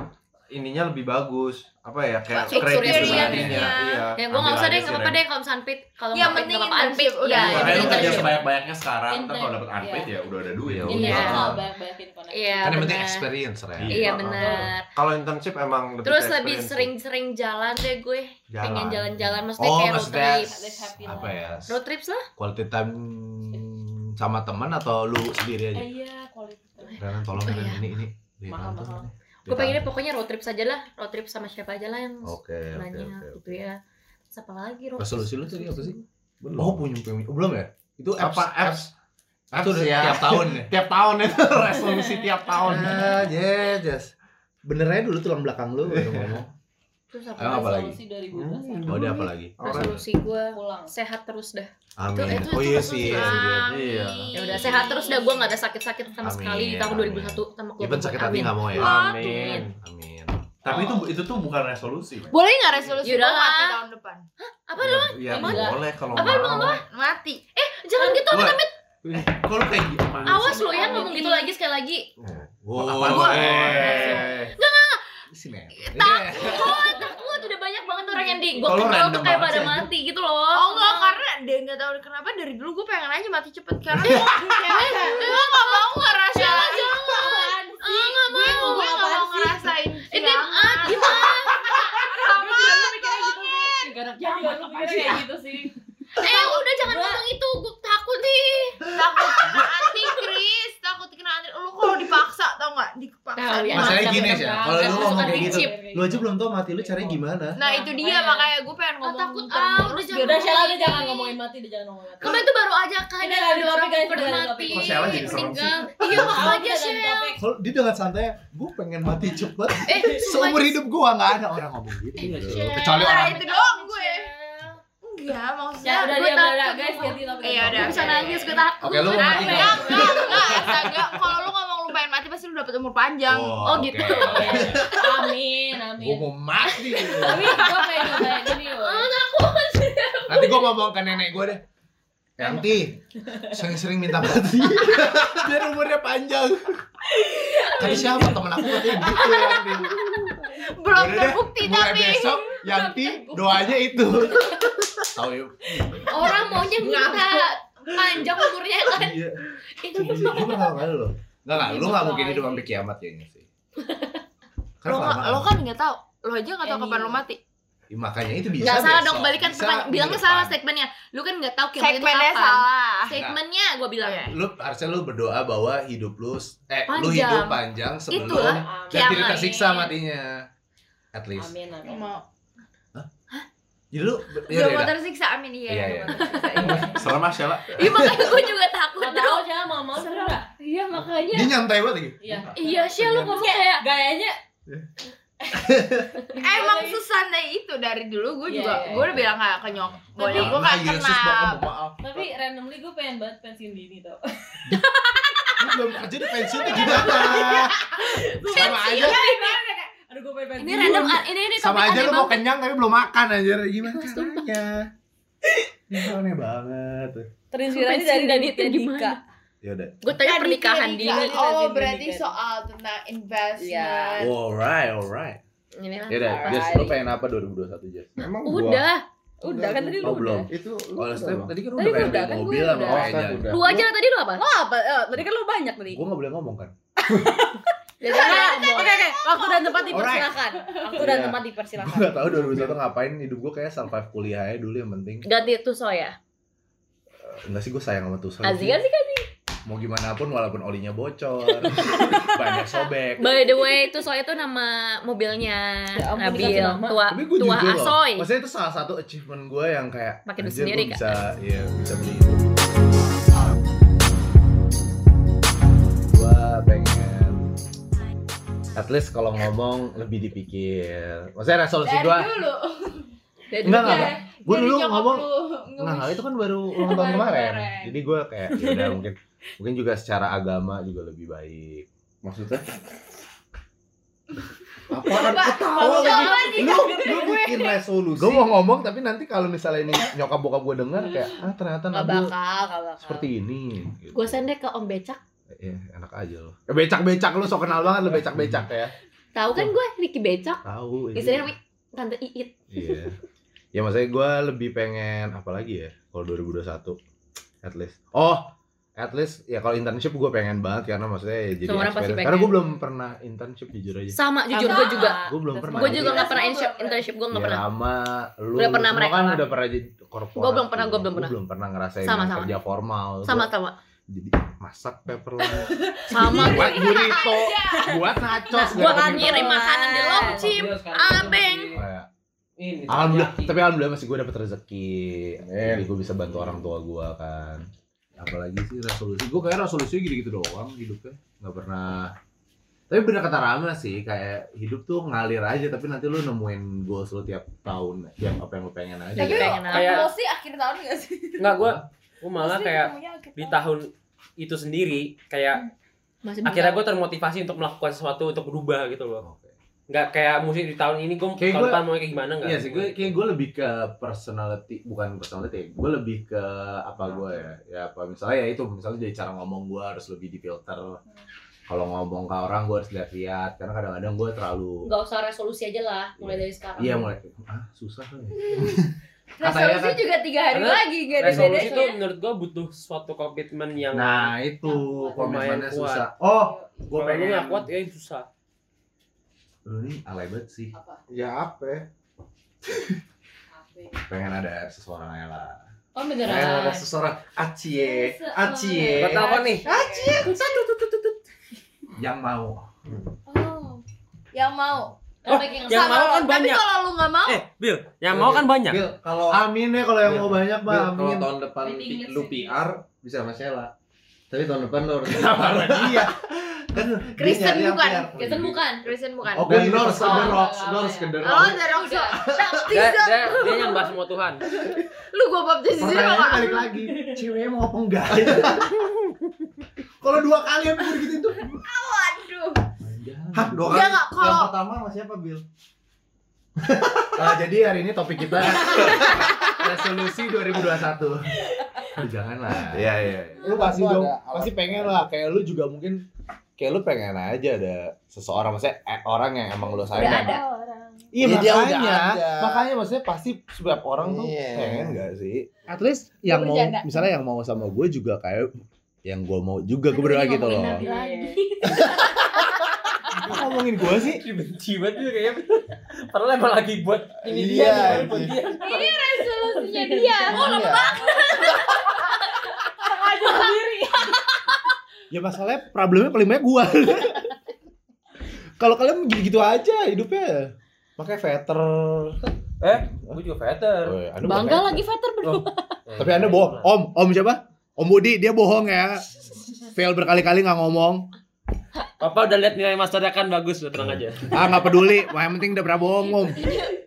Speaker 4: ininya lebih bagus apa ya kayak
Speaker 3: Kayak
Speaker 4: kreativitinya
Speaker 7: experience-nya.
Speaker 4: iya
Speaker 3: Ya gue gak
Speaker 5: Ambil
Speaker 3: usah
Speaker 5: aja
Speaker 3: deh,
Speaker 5: sih,
Speaker 3: gak apa-apa
Speaker 5: Ren.
Speaker 3: deh kalau misalkan paid Kalau
Speaker 7: Yang
Speaker 3: nggak paid,
Speaker 7: penting
Speaker 3: nggak apa-apa unpaid
Speaker 7: internship, udah.
Speaker 3: Ya,
Speaker 7: Yang
Speaker 5: Makanya lu
Speaker 7: penting
Speaker 5: kerja
Speaker 7: internship.
Speaker 5: sebanyak-banyaknya sekarang, ntar kalau
Speaker 1: Intern,
Speaker 5: dapet unpaid ya udah ada duit.
Speaker 4: Iya,
Speaker 3: Iya.
Speaker 1: Iya,
Speaker 4: udah.
Speaker 1: banyak-banyakin koneksi.
Speaker 3: Iya
Speaker 2: Kan yang penting
Speaker 3: benar.
Speaker 2: experience ya.
Speaker 5: Iya.
Speaker 3: Iya
Speaker 4: Ah, ah, ah.
Speaker 3: benar.
Speaker 4: kalau internship emang lebih
Speaker 3: Terus
Speaker 4: ke
Speaker 3: lebih
Speaker 4: experience.
Speaker 3: sering-sering jalan deh gue.
Speaker 4: Jalan.
Speaker 3: Pengen jalan-jalan maksudnya
Speaker 2: Oh,
Speaker 3: kayak road
Speaker 2: maksudnya
Speaker 3: trip.
Speaker 1: Live happy
Speaker 2: apa
Speaker 1: life.
Speaker 2: ya?
Speaker 3: Road trips lah.
Speaker 2: Quality time sama teman atau lu sendiri aja?
Speaker 1: Eh, Iya, kualitas.
Speaker 2: Renan tolong
Speaker 3: Oh,
Speaker 2: Ren,
Speaker 3: iya.
Speaker 2: ini ini. Lihat
Speaker 1: Mahal,
Speaker 2: nonton
Speaker 1: mahal.
Speaker 2: ini. Lihat
Speaker 3: Gue pengennya
Speaker 2: nonton.
Speaker 3: pokoknya road trip saja lah. Road trip sama siapa aja lah yang
Speaker 2: Oke, oke,
Speaker 3: nanya
Speaker 2: oke.
Speaker 3: gitu ya. Terus apa lagi road
Speaker 2: Resolusi lu tadi apa sih?
Speaker 5: Belum.
Speaker 2: Oh, punya punya. Oh, belum ya? Itu apps,
Speaker 5: apa apps?
Speaker 2: Itu
Speaker 5: Apps
Speaker 2: udah
Speaker 5: ya.
Speaker 2: *laughs* tiap tahun ya.
Speaker 5: Tiap tahun itu *laughs* resolusi tiap tahun.
Speaker 2: Ah, yes, yes. Benernya dulu tulang belakang lu baru ngomong.
Speaker 3: Terus
Speaker 2: *laughs* Emang
Speaker 3: apa?
Speaker 2: apa lagi?
Speaker 1: Resolusi 2012
Speaker 4: Hmm.
Speaker 2: Oh, ada apa lagi?
Speaker 3: Resolusi gue
Speaker 1: pulang.
Speaker 3: sehat terus dah.
Speaker 2: Amin.
Speaker 3: Itu- itu-
Speaker 2: oh
Speaker 3: itu
Speaker 2: iya
Speaker 3: resolusi.
Speaker 2: sih. iya, iya.
Speaker 4: Iya.
Speaker 3: Ya udah sehat terus dah gue gak ada sakit-sakit sama
Speaker 2: Amin,
Speaker 3: sekali di tahun
Speaker 2: amin.
Speaker 3: 2001 sama keluarga
Speaker 2: Even
Speaker 3: gue.
Speaker 2: sakit hati
Speaker 3: Amin. Ah.
Speaker 2: nggak mau ya.
Speaker 4: amin
Speaker 2: Amin.
Speaker 5: Tapi
Speaker 2: Oh.
Speaker 5: itu itu tuh bukan resolusi. men.
Speaker 7: boleh nggak resolusi
Speaker 3: Yaudah
Speaker 7: gua mati
Speaker 3: lah.
Speaker 7: tahun depan
Speaker 3: Apa
Speaker 4: lu iya
Speaker 1: Emang?
Speaker 4: boleh kalau
Speaker 3: Apa lu
Speaker 4: mau
Speaker 7: mati
Speaker 3: Jangan gitu amit amit.
Speaker 5: Kok lu kayak gitu? Mana
Speaker 3: Awas
Speaker 5: sih?
Speaker 3: lu ya ngomong gitu lagi sekali lagi.
Speaker 2: Wow.
Speaker 5: Apa lu? Eh.
Speaker 3: Takut, takut udah banyak banget orang yang di gue
Speaker 5: Kalau
Speaker 3: kenal tuh
Speaker 5: random
Speaker 3: kayak
Speaker 5: banget
Speaker 3: pada
Speaker 5: sih,
Speaker 3: mati gitu loh.
Speaker 7: oh enggak karena dia nggak tahu kenapa dari dulu gue pengen aja mati *laughs* cepet karena gue nggak mau ngerasain
Speaker 1: Apaan sih?
Speaker 3: Iya, Ah, nggak
Speaker 7: gue
Speaker 3: mau.
Speaker 7: gue nggak mau ngerasain
Speaker 3: Eh, dia-
Speaker 1: *laughs*
Speaker 3: ah, gimana?
Speaker 1: Lu kenapa mikirnya gitu sih? Garap jaman lu pikirnya kayak gitu sih.
Speaker 3: Eh udah jangan ngomong itu, gue takut nih.
Speaker 7: takut kena anti Chris takut kena anti lu kalau dipaksa tau nggak dipaksa
Speaker 3: Tahu ya.
Speaker 2: Masalahnya
Speaker 3: Jangan
Speaker 2: gini
Speaker 3: sampai
Speaker 2: sih,
Speaker 3: terbang,
Speaker 2: kalau lu
Speaker 3: jangan
Speaker 2: ngomong
Speaker 3: suka
Speaker 2: kayak gitu,
Speaker 3: dicip.
Speaker 2: lu aja belum tau mati lu
Speaker 3: Iya.
Speaker 2: caranya gimana.
Speaker 7: nah itu dia
Speaker 1: Makanya.
Speaker 7: makanya gue pengen
Speaker 3: Ah,
Speaker 7: ngomong
Speaker 3: takut
Speaker 7: tentang
Speaker 3: ah, udah
Speaker 7: terus
Speaker 3: jangan.
Speaker 1: Ya udah Sheila lu
Speaker 3: ngomongin
Speaker 1: jangan
Speaker 3: ini.
Speaker 1: ngomongin mati, dia jangan ngomongin mati.
Speaker 3: Kamu itu baru aja kan
Speaker 1: Ini ganti
Speaker 3: orang
Speaker 1: topik, guys.
Speaker 3: pernah
Speaker 1: Ganti
Speaker 3: mati,
Speaker 2: Oh,
Speaker 1: topik.
Speaker 5: Kok Sheila jadi serem
Speaker 3: meninggal. Iya
Speaker 1: Kalau
Speaker 3: makanya
Speaker 1: kita ganti
Speaker 3: Sheila.
Speaker 1: topik.
Speaker 2: Kalau dia dengan santai, gue pengen mati cepet.
Speaker 3: Eh,
Speaker 2: *laughs* Seumur hidup gue nggak ada orang ngomong gitu.
Speaker 3: Iya,
Speaker 2: gitu.
Speaker 3: Shell.
Speaker 2: Kecuali
Speaker 7: Nah,
Speaker 2: orang
Speaker 7: itu doang gue enggak Iya, maksudnya
Speaker 3: Nah,
Speaker 1: Ya udah dia udah,
Speaker 7: gue
Speaker 1: udah
Speaker 7: takut
Speaker 1: guys
Speaker 7: gue-
Speaker 1: ganti topik.
Speaker 7: Iya, udah.
Speaker 3: Gue bisa nangis, gue takut.
Speaker 2: Oke, lu mau
Speaker 7: Nah,
Speaker 2: mati
Speaker 7: enggak,
Speaker 2: nggak?
Speaker 7: enggak, enggak, astaga. Kalau lu ngomong lu pengen mati pasti lu dapet umur panjang.
Speaker 3: Oh, gitu.
Speaker 2: oke.
Speaker 1: Amin, amin.
Speaker 2: Gue mau mati. gitu.
Speaker 1: Tapi gue pengen nyobain ini loh.
Speaker 2: Nanti gue ngomong ke nenek gue deh. Nanti sering-sering minta mati *laughs* biar umurnya panjang. Tadi siapa temen aku katanya gitu Yanti.
Speaker 7: Belum
Speaker 2: Udah deh,
Speaker 7: terbukti
Speaker 2: Mulai
Speaker 7: tapi.
Speaker 2: besok Yanti doanya itu. Tahu ya?
Speaker 3: Orang maunya minta panjang umurnya kan.
Speaker 2: Iya.
Speaker 3: Itu
Speaker 2: Itu itu pertama kali lo. Enggak enggak, lu enggak mungkin hidup sampai kiamat kayaknya sih.
Speaker 7: Lo,
Speaker 2: Karena
Speaker 7: nggak- lo
Speaker 2: kelamaan.
Speaker 7: kan nggak tahu. Lo aja nggak tahu
Speaker 1: Anyway.
Speaker 7: kapan lo mati.
Speaker 2: Ya, makanya itu bisa.
Speaker 3: Gak salah
Speaker 2: besok.
Speaker 3: dong, balikan
Speaker 2: Bisa
Speaker 3: pertanyaan.
Speaker 2: minggu
Speaker 3: Bilangnya
Speaker 2: depan.
Speaker 3: salah statementnya. Lu kan gak tau kiamat itu
Speaker 7: Segmennya
Speaker 3: kapan.
Speaker 7: salah.
Speaker 3: Statementnya gue bilang.
Speaker 7: Oke.
Speaker 2: Lu harusnya lu berdoa bahwa hidup lu eh lu
Speaker 3: Panjang.
Speaker 2: hidup panjang sebelum
Speaker 3: Itulah
Speaker 2: dan tidak
Speaker 3: kiamat.
Speaker 2: tersiksa matinya. At least.
Speaker 1: Amin, amin.
Speaker 7: Mau.
Speaker 2: Jadi lu ya
Speaker 7: Gak mau
Speaker 2: udah.
Speaker 7: tersiksa amin iya.
Speaker 2: Iya,
Speaker 7: gak
Speaker 2: iya.
Speaker 7: mau tersiksa, iya.
Speaker 5: Serem mas ya lah.
Speaker 3: Iya makanya gue juga takut
Speaker 1: Gak
Speaker 3: dong.
Speaker 1: tau siapa mau mau seru nggak?
Speaker 3: Iya makanya.
Speaker 2: Dia nyantai banget lagi.
Speaker 1: Iya.
Speaker 3: Iya sih lu ngomong kayak
Speaker 1: Gayanya
Speaker 7: Eh, Emang susah itu dari dulu
Speaker 1: Iya,
Speaker 7: gue juga.
Speaker 1: iya,
Speaker 7: Gue
Speaker 1: iya.
Speaker 7: udah bilang gak ke nyok. Boleh
Speaker 1: Tapi-
Speaker 7: gue gak
Speaker 3: Iya,
Speaker 2: Nah, Yesus,
Speaker 7: kenal.
Speaker 2: Bapak, maaf.
Speaker 1: Tapi randomly gue pengen banget pensiun dini tau
Speaker 2: Lu belum kerja di pensiun tuh gimana? Sama aja,
Speaker 1: Aduh gue pengen pensiun
Speaker 3: ini random ah, ini ini
Speaker 2: Iya. sama aja
Speaker 3: topik aneh
Speaker 2: lu mau
Speaker 3: banget.
Speaker 2: kenyang tapi belum makan aja. Gimana caranya? Ini aneh banget.
Speaker 1: Terinspirasi
Speaker 3: Pensiun
Speaker 1: dari
Speaker 3: dini
Speaker 1: Dini
Speaker 3: tuh gimana?
Speaker 1: Dika
Speaker 2: Ya udah.
Speaker 3: Gue tanya pernikahan
Speaker 7: Jadi,
Speaker 3: dini.
Speaker 1: Dini.
Speaker 7: Oh
Speaker 1: Jadi,
Speaker 7: berarti
Speaker 1: Dini.
Speaker 7: soal tentang
Speaker 1: Iya.
Speaker 7: investment.
Speaker 2: Alright, alright.
Speaker 3: Ini lah.
Speaker 2: Ya udah, Jess, lu pengen apa 2021, Jess?
Speaker 4: Emang gua-
Speaker 3: Udah.
Speaker 1: Udah kan tadi
Speaker 2: Oh,
Speaker 1: lu
Speaker 2: belum.
Speaker 1: udah
Speaker 4: itu lu
Speaker 2: Oh,
Speaker 4: udah
Speaker 2: Steph,
Speaker 4: bang.
Speaker 2: tadi kan lu
Speaker 1: Tadi
Speaker 2: udah pengen
Speaker 1: udah,
Speaker 2: beli
Speaker 1: kan gue
Speaker 2: mobil sama
Speaker 1: udah.
Speaker 4: Oh, Steph,
Speaker 2: kayaknya.
Speaker 4: udah.
Speaker 3: Lu aja lah tadi lu apa?
Speaker 1: Lo apa? Eh, Tadi kan lo banyak tadi
Speaker 2: Gua nggak boleh ngomong kan?
Speaker 1: Jadi Oke oke Waktu dan tempat dipersilakan Waktu dan
Speaker 2: Iya.
Speaker 1: tempat
Speaker 2: Gua
Speaker 1: dipersilakan
Speaker 2: nggak tahu 2021 ngapain hidup gua kayak survive kuliah aja dulu yang penting.
Speaker 3: Ganti tuh soya.
Speaker 2: Enggak sih gua sayang sama Tusel.
Speaker 3: Azika sih kan.
Speaker 2: Mau gimana pun walaupun olinya bocor, *laughs* banyak sobek.
Speaker 3: By the way, tuh soya tuh nama mobilnya
Speaker 1: Ya ampun,
Speaker 3: Nabil
Speaker 1: dikasih nama.
Speaker 3: tua
Speaker 2: Tapi gue
Speaker 3: tua
Speaker 2: jujur loh,
Speaker 3: Asoy.
Speaker 2: Maksudnya itu salah satu achievement gue yang kayak
Speaker 3: Pakai duit
Speaker 2: anjir,
Speaker 3: sendiri,
Speaker 2: gua
Speaker 3: Kak.
Speaker 2: bisa, iya bisa beli itu. Gue pengen at least kalau ngomong lebih dipikir. Maksudnya resolusi
Speaker 7: Dari
Speaker 2: gue
Speaker 7: dulu.
Speaker 3: Jadi
Speaker 2: enggak enggak.
Speaker 7: Iya.
Speaker 2: enggak. Gue
Speaker 7: Dari
Speaker 2: dulu
Speaker 7: nyokap
Speaker 2: ngomong
Speaker 7: lu
Speaker 2: Nah,
Speaker 7: nge-wish.
Speaker 2: itu kan baru ulang tahun kemarin.
Speaker 7: Kemarin.
Speaker 2: Jadi gue kayak ya udah mungkin mungkin juga secara agama juga lebih baik.
Speaker 4: maksudnya
Speaker 2: Apaan
Speaker 7: Pak,
Speaker 2: ketawa
Speaker 7: maksudnya
Speaker 2: lagi?
Speaker 7: apa sih?
Speaker 2: Lu lu bikin resolusi. Gue mau ngomong tapi nanti kalau misalnya ini nyokap bokap gue denger kayak ah ternyata
Speaker 1: Gak
Speaker 2: Nabil
Speaker 1: bakal Gak bakal
Speaker 2: seperti ini. Gitu.
Speaker 3: gue sendek ke Om Becak.
Speaker 2: Ya, enak aja lo. Becak-becak lu sok kenal banget lu becak-becak ya.
Speaker 3: Tahu kan gue Ricky Becak.
Speaker 2: Tahu. ini.
Speaker 3: Istrinya namanya Tante Iit.
Speaker 2: Iya. Ya maksudnya gue lebih pengen apa lagi ya kalau 2021 at least. Oh, at least ya kalau internship gue pengen banget karena maksudnya ya jadi
Speaker 3: Semua orang pasti
Speaker 2: experience.
Speaker 3: pengen.
Speaker 2: Karena gue belum pernah internship jujur aja.
Speaker 3: Sama jujur gue juga.
Speaker 2: Gue belum pernah.
Speaker 3: Gue juga nggak
Speaker 7: Sama.
Speaker 3: pernah internship, internship gue nggak
Speaker 2: Ya,
Speaker 3: pernah.
Speaker 2: lama lu
Speaker 3: Udah pernah
Speaker 2: semua
Speaker 3: mereka
Speaker 2: kan
Speaker 3: lah.
Speaker 2: udah pernah jadi korporat.
Speaker 3: Gua belum pernah, gua
Speaker 2: Iya,
Speaker 3: belum
Speaker 2: gua
Speaker 3: pernah.
Speaker 2: belum pernah ngerasain
Speaker 3: Sama,
Speaker 2: yang
Speaker 3: sama.
Speaker 2: kerja formal. Gua
Speaker 3: Sama sama.
Speaker 2: jadi masak pepper lunch,
Speaker 3: Sama gue.
Speaker 2: buat burrito, buat nachos, gitu
Speaker 3: Gue
Speaker 2: segala
Speaker 3: kan
Speaker 2: macam.
Speaker 3: ngirim makanan di
Speaker 6: Iya,
Speaker 3: Longchim. abeng.
Speaker 2: Kayak,
Speaker 6: Ini,
Speaker 2: Alhamdulillah,
Speaker 6: teriyaki.
Speaker 2: tapi alhamdulillah masih gue dapet rezeki.
Speaker 4: Amin.
Speaker 2: Jadi gue bisa bantu orang tua gue kan. Apalagi sih resolusi. Gue kayak resolusi gitu-gitu doang hidupnya. Nggak pernah. Tapi bener kata Rama sih, kayak hidup tuh ngalir aja. Tapi nanti lu nemuin goals lu tiap tahun, tiap apa yang lu pengen aja.
Speaker 7: Tapi
Speaker 3: Kayak
Speaker 7: lo-
Speaker 6: kayak-
Speaker 7: lo sih akhir tahun gak sih?
Speaker 6: Enggak gua gua malah
Speaker 7: Pasti
Speaker 6: kayak
Speaker 7: ketemunya akhir
Speaker 6: di
Speaker 7: tahun.
Speaker 6: tahun itu sendiri kayak
Speaker 3: Masih
Speaker 6: akhirnya gua termotivasi untuk melakukan sesuatu untuk berubah gitu loh.
Speaker 2: Oke.
Speaker 6: Enggak kayak musik di tahun ini gua
Speaker 2: Kayak
Speaker 6: tahun
Speaker 2: gua-
Speaker 6: depan mau kayak gimana enggak?
Speaker 2: Iya sih, gue kayak gue lebih ke personality, bukan personality, gue lebih ke apa gue ya, ya apa misalnya ya itu misalnya jadi cara ngomong gue harus lebih difilter. Kalau ngomong ke orang gue harus lihat-lihat, karena kadang-kadang gue terlalu
Speaker 8: Gak usah resolusi aja lah, mulai dari sekarang.
Speaker 2: iya mulai ah susah kan ya. Katanya
Speaker 7: Resolusi
Speaker 2: kan-
Speaker 7: juga tiga hari
Speaker 6: Karena
Speaker 7: lagi gak ada
Speaker 6: Resolusi ya.
Speaker 7: bedanya.
Speaker 6: itu menurut gua butuh suatu komitmen yang
Speaker 2: Nah itu
Speaker 1: Yang kuat.
Speaker 2: komitmennya
Speaker 6: Lumayan
Speaker 2: susah. Oh, gue
Speaker 6: kalau lu
Speaker 2: pengen.
Speaker 6: nggak kuat ya susah.
Speaker 2: Lu nih alay banget sih.
Speaker 4: ya apa ya?
Speaker 2: Pengen ada seseorang ya lah.
Speaker 1: Oh
Speaker 2: Pengen
Speaker 4: Eh,
Speaker 1: beneran
Speaker 2: ada seseorang acie,
Speaker 6: Gua
Speaker 2: acie.
Speaker 6: telepon nih.
Speaker 2: Yang mau.
Speaker 7: Oh. Yang mau.
Speaker 6: Oh, yang
Speaker 7: Sama
Speaker 6: mau
Speaker 7: lo.
Speaker 6: kan banyak.
Speaker 7: Tapi kalau lu gak mau,
Speaker 6: Eh, Bill, yang mau kan banyak.
Speaker 4: Bil, kalau
Speaker 2: Amin ya kalau Ya, yang mau banyak
Speaker 4: Bil,
Speaker 2: mah
Speaker 4: kalau
Speaker 2: amin.
Speaker 4: tahun depan pi- lu PR bisa sama Sheila. Tapi tahun depan
Speaker 2: *laughs*
Speaker 4: lu harus
Speaker 2: Sama dia. Kan dia
Speaker 7: Kristen
Speaker 2: nyari yang
Speaker 7: bukan.
Speaker 2: PR.
Speaker 3: Kristen bukan.
Speaker 7: Kristen bukan.
Speaker 2: Oh, gue
Speaker 4: Dan
Speaker 2: ini harus
Speaker 4: Norse
Speaker 2: ke The
Speaker 1: Oh,
Speaker 2: Rocks,
Speaker 1: enggak,
Speaker 2: gue
Speaker 6: ya?
Speaker 2: harus ke
Speaker 1: enggak,
Speaker 2: The
Speaker 6: Oh,
Speaker 7: Lo
Speaker 2: Rocks.
Speaker 7: dari Oxford.
Speaker 6: Dia,
Speaker 7: Baptisan.
Speaker 6: dia, dia yang bahas sama *laughs* Tuhan.
Speaker 7: Lu gue baptisin sama
Speaker 2: Pertanyaannya
Speaker 7: gak?
Speaker 2: balik lagi, ceweknya mau apa enggak? *laughs* Kalau dua kali yang begitu itu
Speaker 7: Waduh.
Speaker 2: Hah, dua
Speaker 7: Enggak enggak
Speaker 4: Yang
Speaker 7: kalau
Speaker 4: pertama sama siapa Bil?
Speaker 2: Nah, jadi hari ini topik kita
Speaker 9: resolusi 2021. Aduh, Janganlah.
Speaker 4: Iya iya.
Speaker 2: lu pasti dong pasti pengen lah kayak lu juga mungkin
Speaker 4: Kayak lu pengen aja ada
Speaker 2: Ya,
Speaker 4: seseorang maksudnya eh, orang yang emang lu sayang.
Speaker 10: Udah ada.
Speaker 3: orang.
Speaker 2: iya
Speaker 4: Ya, dia udah
Speaker 2: makanya
Speaker 4: ada.
Speaker 2: makanya maksudnya pasti setiap orang tuh
Speaker 4: Iya.
Speaker 2: pengen gak
Speaker 4: sih?
Speaker 2: at least yang mau
Speaker 3: bercanda.
Speaker 2: misalnya yang mau sama gue juga kayak yang gue mau juga gue
Speaker 10: Aduh,
Speaker 2: berdoa
Speaker 10: ini
Speaker 2: gitu loh
Speaker 10: ngomongin
Speaker 1: ya.
Speaker 10: Nabi lagi.
Speaker 2: Kok ngomongin gue sih
Speaker 6: benci banget dia kayaknya padahal emang lagi buat ini dia
Speaker 4: Iya,
Speaker 6: nih, padahal buat dia
Speaker 3: Solusinya dia.
Speaker 4: Oh,
Speaker 2: ya masalahnya problemnya paling banyak *laughs* gue kalau kalian gitu-gitu aja hidupnya pakai veter
Speaker 6: eh gue juga Eh, veter
Speaker 2: Oh, iya.
Speaker 4: Woi, Anda
Speaker 2: Anu-
Speaker 4: bukan
Speaker 3: Bangga
Speaker 4: hater.
Speaker 3: lagi Vetter berdua.
Speaker 2: tapi anda bohong om om siapa om Budi dia bohong ya fail berkali-kali nggak ngomong
Speaker 6: Papa udah lihat nilai masternya kan bagus, udah tenang aja.
Speaker 2: ah nggak peduli yang penting udah pernah bohong om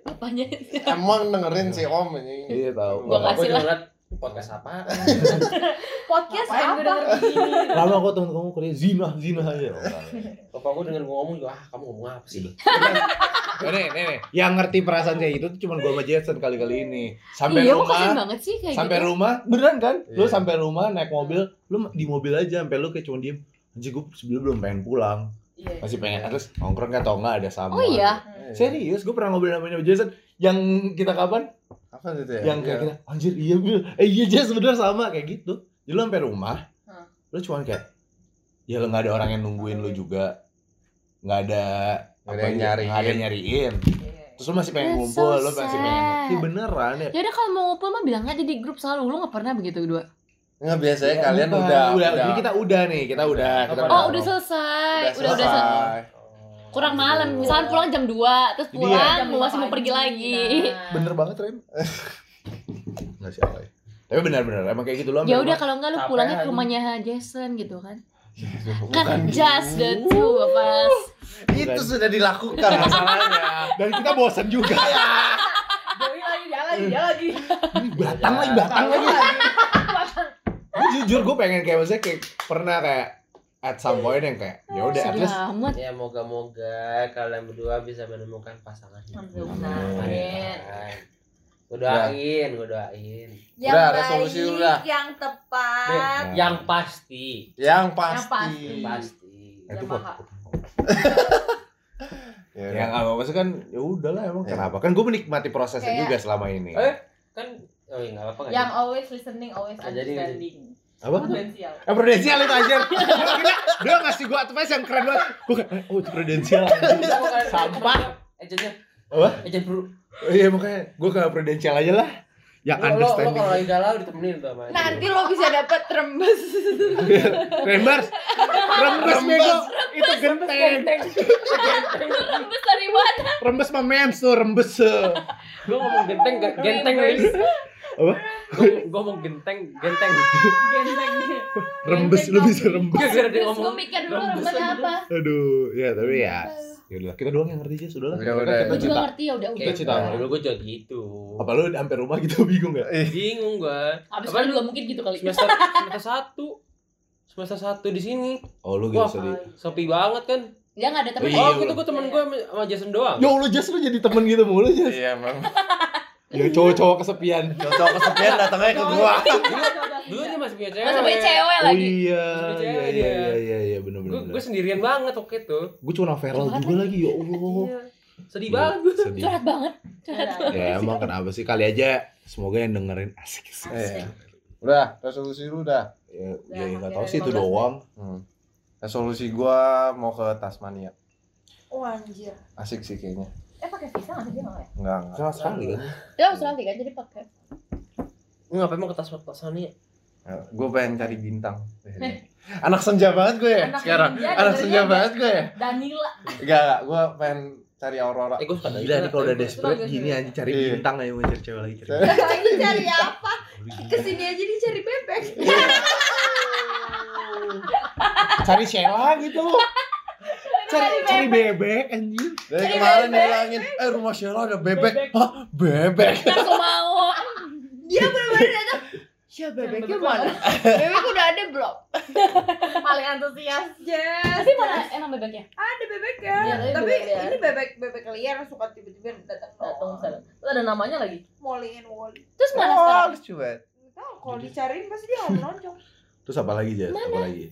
Speaker 3: Apanya?
Speaker 4: Emang dengerin si Om ini. kan-
Speaker 9: Iya tahu.
Speaker 3: Gua
Speaker 6: Gua
Speaker 3: kasih
Speaker 6: juga
Speaker 3: lah.
Speaker 6: ngeliat podcast apa?
Speaker 7: Podcast
Speaker 1: Ngapain
Speaker 7: apa?
Speaker 1: gue Iya, denger gini?
Speaker 2: lama kok temen kamu kuliah zina zina aja
Speaker 6: Papa gue denger gua ngomong juga, ah kamu ngomong apa
Speaker 2: Iya.
Speaker 6: sih?
Speaker 4: Nih, nih, nih.
Speaker 2: yang ngerti perasaan kayak gitu tuh cuma gue sama Jason kali-kali ini sampai
Speaker 3: Iya, kok kasian
Speaker 2: rumah
Speaker 3: banget sih kayak
Speaker 2: sampai
Speaker 3: gitu.
Speaker 2: rumah beneran kan lu
Speaker 6: Iya.
Speaker 2: sampai rumah naik mobil lu di mobil aja sampai lu kayak cuma diem anjir gue sebelum belum pengen pulang
Speaker 1: Iya.
Speaker 2: masih pengen terus ya? nongkrong kan atau enggak ada sama
Speaker 3: Oh iya,
Speaker 2: serius gue pernah ngobrol namanya Jason yang kita kapan
Speaker 4: Apa itu ya?
Speaker 2: yang kayak kita anjir iya bil eh iya Jas bener sama kayak gitu jadi lu sampai rumah
Speaker 1: Hmm.
Speaker 2: lu cuman kayak ya lu nggak ada orang yang nungguin lu juga nggak ada
Speaker 4: Nggak ada yang
Speaker 2: apa, ya,
Speaker 4: nyariin.
Speaker 2: nggak ada yang nyariin
Speaker 1: Iya.
Speaker 2: terus lu masih pengen
Speaker 3: That's
Speaker 2: ngumpul
Speaker 3: so
Speaker 2: lu masih pengen
Speaker 3: sad.
Speaker 2: Ih, beneran ya
Speaker 3: ya udah kalau mau ngumpul mah bilang aja di grup selalu lu nggak pernah begitu dua.
Speaker 4: Enggak biasanya
Speaker 2: Ya,
Speaker 4: kalian
Speaker 2: bukan.
Speaker 4: udah
Speaker 2: udah, jadi kita udah nih kita udah kita
Speaker 6: Oh,
Speaker 3: Oh
Speaker 2: udah.
Speaker 3: udah selesai, udah udah, sel-
Speaker 4: selesai.
Speaker 3: kurang malam. Misalnya pulang jam 2 terus
Speaker 2: Jadi
Speaker 3: pulang
Speaker 1: Jam
Speaker 3: mau Kan, masih mau
Speaker 1: lima
Speaker 3: pergi
Speaker 1: pagi,
Speaker 3: lagi.
Speaker 1: nah.
Speaker 2: bener banget Rem nggak sih alay. tapi benar-benar emang kayak gitu loh
Speaker 3: Ya udah kalau enggak lu
Speaker 6: Capek
Speaker 3: pulangnya ke
Speaker 6: aja.
Speaker 3: rumahnya Jason gitu kan.
Speaker 4: Bukan.
Speaker 3: Kan just the two of us.
Speaker 4: Itu sudah
Speaker 2: *laughs*
Speaker 4: dilakukan masalahnya.
Speaker 2: dan kita bosan juga ya
Speaker 1: Dewi lagi, dia lagi,
Speaker 2: Iya.
Speaker 1: dia lagi.
Speaker 2: Ini *laughs* batang lagi batang lagi Gua jujur gue pengen kayak maksudnya kayak pernah kayak at some point yang kayak ya udah at
Speaker 3: Sedih
Speaker 2: least
Speaker 3: amat.
Speaker 6: Ya moga-moga kalian berdua bisa menemukan pasangannya.
Speaker 1: Amin.
Speaker 2: Ya.
Speaker 6: Gue doain, gue doain.
Speaker 7: Yang
Speaker 4: Udah,
Speaker 7: baik,
Speaker 4: resolusi udah.
Speaker 7: yang tepat.
Speaker 2: nah,
Speaker 6: Yang pasti,
Speaker 4: Yang
Speaker 7: pasti.
Speaker 4: pasti.
Speaker 6: pasti.
Speaker 7: Yang maha.
Speaker 4: Iya,
Speaker 2: yang apa maksudnya kan ya udahlah emang kenapa kan gue menikmati prosesnya
Speaker 1: Kayak-
Speaker 2: juga selama ini
Speaker 6: Eh? Kan, oh ya nggak apa-apa nggak
Speaker 1: Yang always listening, always
Speaker 6: Nah, jadi-
Speaker 1: understanding.
Speaker 2: apa
Speaker 1: Potensial.
Speaker 2: Eh prudensial itu aja. Dia ngasih gua advice yang keren banget. Gua kayak, oh itu prudensial.
Speaker 6: jadi. Kita bukan-
Speaker 2: Sampah.
Speaker 6: Agentnya.
Speaker 2: Apa?
Speaker 6: Agent bro.
Speaker 2: Oh, iya makanya gua ke prudensial aja lah. Ya, Yang
Speaker 6: Lo, lo, lo
Speaker 2: understanding.
Speaker 6: kalau lagi galau ditemenin tuh sama agent.
Speaker 7: Nanti lo bisa dapat rembes.
Speaker 2: Rembers. Rembes bego. Itu genteng.
Speaker 3: Rembes dari mana?
Speaker 2: Rembes mah mens tuh, rembes.
Speaker 6: Gue ngomong genteng, ge- genteng guys.
Speaker 2: Apa?
Speaker 6: Gue ngomong genteng, genteng.
Speaker 1: Genteng.
Speaker 2: Rembes lu bisa rembes.
Speaker 6: Gara-gara dia
Speaker 3: Terus gue
Speaker 6: ngomong.
Speaker 3: mikir dulu
Speaker 6: Rembes,
Speaker 3: rembes apa.
Speaker 2: Aduh, ya tapi ya. Ya udah, kita doang yang ngerti aja sudah lah.
Speaker 4: Udah,
Speaker 2: Kita
Speaker 4: udah.
Speaker 3: Gue juga
Speaker 2: cerita.
Speaker 3: ngerti ya udah udah.
Speaker 2: Kita cerita sama
Speaker 6: Dulu gue juga gitu.
Speaker 2: Apa lu sampai rumah gitu *laughs* bingung gak?
Speaker 6: Bingung gue.
Speaker 3: Abis
Speaker 6: Apa
Speaker 3: itu
Speaker 6: lu-
Speaker 3: juga mungkin gitu kali.
Speaker 6: Semester semester satu. Semester satu di sini.
Speaker 2: Oh lu
Speaker 6: Wah.
Speaker 2: gitu sedih.
Speaker 1: iya.
Speaker 6: Sepi banget kan.
Speaker 3: Dia nggak ada teman.
Speaker 2: Iya,
Speaker 6: Oh, gitu
Speaker 2: lu.
Speaker 6: gue temen gue sama- sama Jason doang.
Speaker 2: Ya Allah Jas lu jadi temen gitu mulu Jas.
Speaker 4: Iya, memang.
Speaker 2: Ya cowok-cowok *laughs* kesepian.
Speaker 4: Cocok kesepian datangnya ke gua.
Speaker 6: Dulu dia masih punya cewek.
Speaker 3: Masa punya cewek
Speaker 2: Oh
Speaker 3: lagi.
Speaker 2: iya,
Speaker 6: Terus dia
Speaker 2: iya
Speaker 6: cewek
Speaker 2: iya
Speaker 6: dia.
Speaker 2: iya iya iya bener
Speaker 6: Gue
Speaker 2: bener.
Speaker 6: gue sendirian banget waktu itu.
Speaker 2: Gue cuma viral
Speaker 3: Curhat
Speaker 2: juga lagi ya Allah.
Speaker 6: Sedih banget gue.
Speaker 4: iya.
Speaker 2: Sedih.
Speaker 3: Curhat banget.
Speaker 2: Ya emang kenapa sih kali aja semoga yang dengerin asik asik.
Speaker 4: Iya. Udah, resolusi lu udah.
Speaker 2: Ya, ya,
Speaker 1: Ya,
Speaker 2: nggak
Speaker 1: hampir
Speaker 2: tahu sih itu
Speaker 1: 15
Speaker 2: doang.
Speaker 4: Hmm. Resolusi gua mau ke Tasmania.
Speaker 1: Oh anjir.
Speaker 4: Asik sih kayaknya.
Speaker 1: Eh pakai visa nggak sih dia nggak ya?
Speaker 4: Enggak, enggak.
Speaker 2: Sama sekali kan.
Speaker 3: Dia Australia kan jadi pakai.
Speaker 6: Gue ngapain mau ke tas Tasmania?
Speaker 4: Gue Nah, pengen cari bintang. Anak senja banget gue ya
Speaker 1: Anak
Speaker 4: sekarang.
Speaker 1: senja,
Speaker 4: Anak
Speaker 1: dengernya
Speaker 4: senja
Speaker 1: ada.
Speaker 4: banget gue ya.
Speaker 1: Danila.
Speaker 4: Enggak, enggak. Gue pengen cari aurora. *laughs*
Speaker 6: Eh gue suka
Speaker 2: Gila nih kalau udah desperate
Speaker 1: Bagus,
Speaker 2: gini
Speaker 1: bagus.
Speaker 2: anjing cari
Speaker 4: Iya.
Speaker 2: bintang aja mau cari cewek lagi.
Speaker 4: *laughs*
Speaker 2: cari bintang.
Speaker 7: Lagi cari apa? Kesini aja dia cari bebek.
Speaker 2: Cari Sheila gitu. Cari cari bebek anjing.
Speaker 4: Dari kemarin bilangin, eh rumah Sheila ada bebek. Hah, bebek.
Speaker 3: Aku mau.
Speaker 7: Dia benar-benar datang. Ya bebeknya mana? Bebek udah ada belum?
Speaker 1: Paling antusias.
Speaker 7: Yes.
Speaker 3: *laughs* Tapi mana emang bebeknya?
Speaker 7: Ada bebeknya.
Speaker 1: Iya, tapi
Speaker 7: tapi
Speaker 1: bebek liar.
Speaker 7: ini bebek bebek liar suka tiba-tiba datang
Speaker 1: Datang sana. Terus ada namanya lagi.
Speaker 3: Molly and Wally.
Speaker 8: Terus mana
Speaker 3: Oh,
Speaker 8: sekarang?
Speaker 4: Terus cuek.
Speaker 3: Nggak tahu kalau dicariin pasti dia nggak mau nonjol.
Speaker 2: Terus apa lagi Jas? Apa lagi?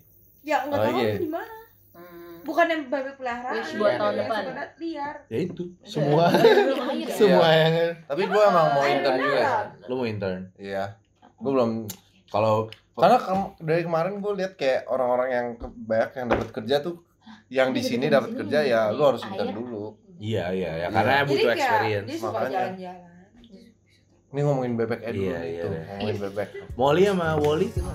Speaker 3: Ya nggak
Speaker 2: Oh,
Speaker 3: tahu
Speaker 2: iya.
Speaker 3: di mana.
Speaker 1: Hmm.
Speaker 3: Bukan yang babi peliharaan.
Speaker 8: Wish buat tahun
Speaker 3: yang
Speaker 8: depan.
Speaker 3: sebenarnya liar. Iya,
Speaker 2: Ya itu.
Speaker 1: Semua
Speaker 8: Air ya?
Speaker 1: semua yang
Speaker 4: Tapi gue emang mau
Speaker 3: Air
Speaker 4: intern juga.
Speaker 3: beneran.
Speaker 4: San.
Speaker 2: Lu mau intern?
Speaker 4: Iya. Gue belum
Speaker 2: Kalau
Speaker 4: karena kem- dari kemarin gue lihat kayak orang-orang yang ke- banyak yang dapat kerja tuh yang di sini dapat kerja ya lu harus intern dulu.
Speaker 2: iya iya ya
Speaker 4: Iya.
Speaker 2: karena
Speaker 3: Jadi
Speaker 2: butuh
Speaker 3: kayak
Speaker 2: experience.
Speaker 3: dia suka
Speaker 4: makanya.
Speaker 3: jalan-jalan.
Speaker 4: Ini ngomongin bebek Ed dulu
Speaker 2: Iya,
Speaker 4: nih,
Speaker 2: iya
Speaker 4: tuh,
Speaker 2: deh.
Speaker 4: ngomongin bebek.
Speaker 2: Molly sama Wally tuh.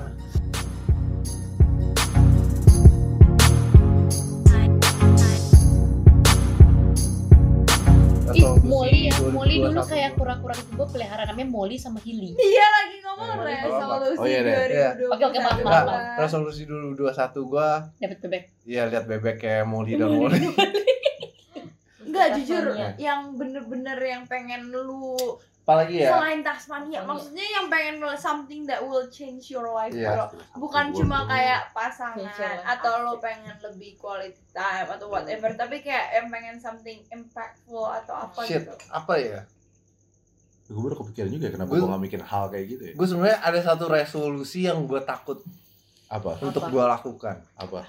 Speaker 8: Ih, Molly ya, Molly dulu kayak kura-kura itu gue pelihara namanya Molly sama Hilly.
Speaker 3: Dia lagi ngomong
Speaker 4: Eh,
Speaker 3: resolusi
Speaker 4: apa-apa. Oh, iya deh. Iya.
Speaker 3: 2021.
Speaker 8: Oke, oke, maaf,
Speaker 4: Nah,
Speaker 8: maaf, maaf.
Speaker 4: resolusi dulu 21 gua
Speaker 8: Dapat bebek.
Speaker 4: ya lihat bebek kayak Molly dan Molly.
Speaker 2: *laughs*
Speaker 3: Enggak jujur,
Speaker 11: Tasmania.
Speaker 3: yang bener-bener yang pengen lu
Speaker 4: Apalagi ya?
Speaker 3: selain Tasmania, maksudnya yang pengen lu something that will change your life,
Speaker 4: Iya.
Speaker 3: bro. Bukan cuma kayak pasangan
Speaker 11: Change your life.
Speaker 3: atau lo pengen lebih quality time atau
Speaker 4: Hmm.
Speaker 3: whatever, tapi kayak yang pengen something impactful atau apa
Speaker 4: Shit.
Speaker 3: gitu.
Speaker 4: Apa ya?
Speaker 2: Gue baru kepikiran juga ya, kenapa
Speaker 4: Gua-
Speaker 2: gue gak mikirin hal kayak gitu ya.
Speaker 4: Gue sebenarnya ada satu resolusi yang gue takut
Speaker 2: Apa?
Speaker 4: untuk gua lakukan.
Speaker 2: Apa?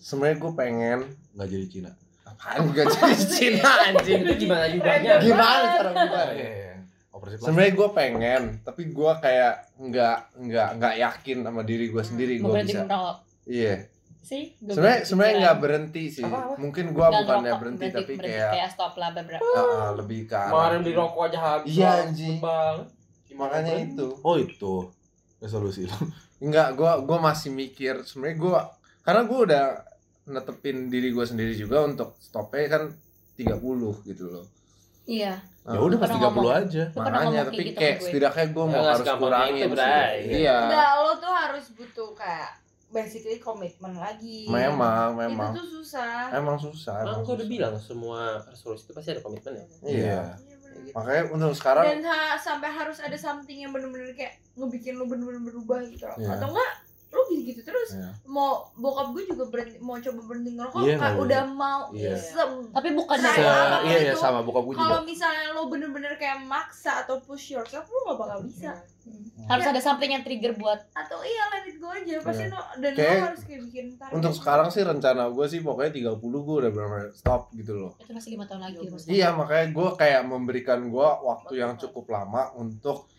Speaker 4: Sebenarnya gue pengen
Speaker 2: Gak jadi Cina.
Speaker 4: apaan
Speaker 8: *laughs*
Speaker 4: gak jadi Cina anjing.
Speaker 6: Itu gimana jubahnya?
Speaker 4: Gimana cara
Speaker 3: Iya,
Speaker 4: gua?
Speaker 2: Iya, Operasi plastik.
Speaker 4: Sebenarnya gue pengen, tapi gue kayak nggak nggak nggak yakin sama diri gue sendiri
Speaker 8: Mau
Speaker 4: gue
Speaker 8: berhenti
Speaker 4: bisa.
Speaker 8: ngerokok
Speaker 4: Iya.
Speaker 8: sih? Gua
Speaker 4: Sebenarnya
Speaker 8: berhenti
Speaker 4: sebenarnya
Speaker 8: pikiran.
Speaker 4: nggak berhenti sih. Mungkin gue
Speaker 8: Nggak
Speaker 4: bukannya
Speaker 8: ngerokok,
Speaker 4: berhenti, tapi
Speaker 8: berhenti,
Speaker 4: kayak
Speaker 8: stop lah beberapa.
Speaker 4: ah, ah, lebih ke arah-
Speaker 6: Kemarin beli rokok aja habis.
Speaker 4: Iya, anjing.
Speaker 6: Bang.
Speaker 4: Makanya itu.
Speaker 2: Oh itu Ya, resolusi lu.
Speaker 4: Enggak, gue gua masih mikir. Sebenarnya gue karena gue udah netepin diri gue sendiri juga untuk stopnya kan 30 gitu loh.
Speaker 8: Iya.
Speaker 4: Ah.
Speaker 2: Ya udah pas
Speaker 8: Pernah
Speaker 2: 30 aja.
Speaker 8: Lu pernah
Speaker 4: Makanya
Speaker 8: ngomong
Speaker 4: tapi
Speaker 8: kayak gitu
Speaker 4: kayak
Speaker 8: ke gue.
Speaker 4: setidaknya gue
Speaker 6: Ya,
Speaker 4: mau
Speaker 6: nggak
Speaker 4: harus
Speaker 6: segampang
Speaker 4: kurangin
Speaker 6: itu,
Speaker 4: sih.
Speaker 6: Bray.
Speaker 4: Iya.
Speaker 3: Enggak, lo tuh harus butuh kayak basically komitmen lagi.
Speaker 4: Memang, memang.
Speaker 3: Itu tuh susah.
Speaker 4: Emang susah.
Speaker 6: Kan
Speaker 4: emang
Speaker 6: gue udah
Speaker 4: susah.
Speaker 6: bilang semua resolusi itu pasti ada komitmen ya.
Speaker 4: Iya.
Speaker 3: Iya, bener gitu.
Speaker 4: Makanya untuk sekarang
Speaker 3: Dan ha- sampai harus ada something yang bener-bener kayak ngebikin lu bener-bener berubah gitu loh.
Speaker 4: Iya.
Speaker 3: Atau enggak lu gitu-gitu terus
Speaker 4: Iya.
Speaker 3: mau bokap gue juga berhenti, mau coba berhenti ngerokok
Speaker 2: Iya,
Speaker 3: kan
Speaker 2: nggak
Speaker 3: udah mau
Speaker 2: Iya.
Speaker 3: se-
Speaker 8: Tapi bukan
Speaker 3: Se-
Speaker 8: dari awal.
Speaker 2: Iya ya sama bokap gue juga.
Speaker 3: kalau misalnya lo bener-bener kayak maksa atau push yourself lo gak bakal
Speaker 1: Iya.
Speaker 3: bisa
Speaker 8: harus ada something yang trigger buat
Speaker 3: atau iya let it go aja pasti lo dan
Speaker 4: Kayak
Speaker 3: lo harus kayak bikin gitu. target
Speaker 4: untuk sekarang sih rencana gue sih pokoknya 30 gue udah benar stop gitu loh.
Speaker 8: itu masih lima tahun lagi maksudnya.
Speaker 4: Iya makanya gue kayak memberikan gue waktu yang cukup lama untuk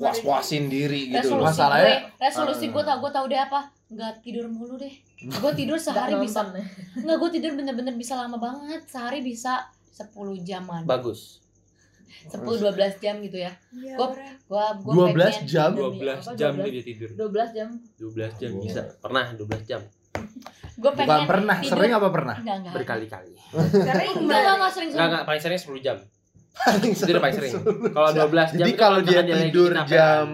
Speaker 4: was-wasin diri gitu
Speaker 8: resolusi
Speaker 4: loh.
Speaker 2: Masalahnya-
Speaker 8: gue resolusi
Speaker 4: Ah.
Speaker 8: gue tau gue tau deh apa nggak tidur mulu deh gue
Speaker 4: *laughs*
Speaker 8: tidur sehari bisa
Speaker 7: ya.
Speaker 8: nggak gue tidur bener-bener bisa lama banget sehari bisa 10 jaman
Speaker 6: Bagus.
Speaker 8: 10 12 jam gitu ya
Speaker 3: Iya,
Speaker 8: Gua-
Speaker 3: bener.
Speaker 8: gue gue
Speaker 2: 12 jam?
Speaker 6: 12 jam dia dia tidur.
Speaker 11: 12 jam
Speaker 6: 12 jam bisa. Pernah 12 jam
Speaker 8: gue pengen
Speaker 2: Bukan pernah,
Speaker 8: tidur-
Speaker 2: sering apa pernah?
Speaker 8: enggak enggak
Speaker 6: berkali-kali.
Speaker 3: sering
Speaker 8: enggak
Speaker 3: banget
Speaker 8: enggak, enggak sering
Speaker 6: Enggak
Speaker 8: sering
Speaker 6: enggak paling sering 10 jam.
Speaker 4: Paling
Speaker 6: Itu udah paling sering. Kalau 12 jam
Speaker 2: Jadi
Speaker 6: itu
Speaker 2: kalau dia
Speaker 6: misalkan lagi
Speaker 2: tidur
Speaker 6: kecapean.
Speaker 2: jam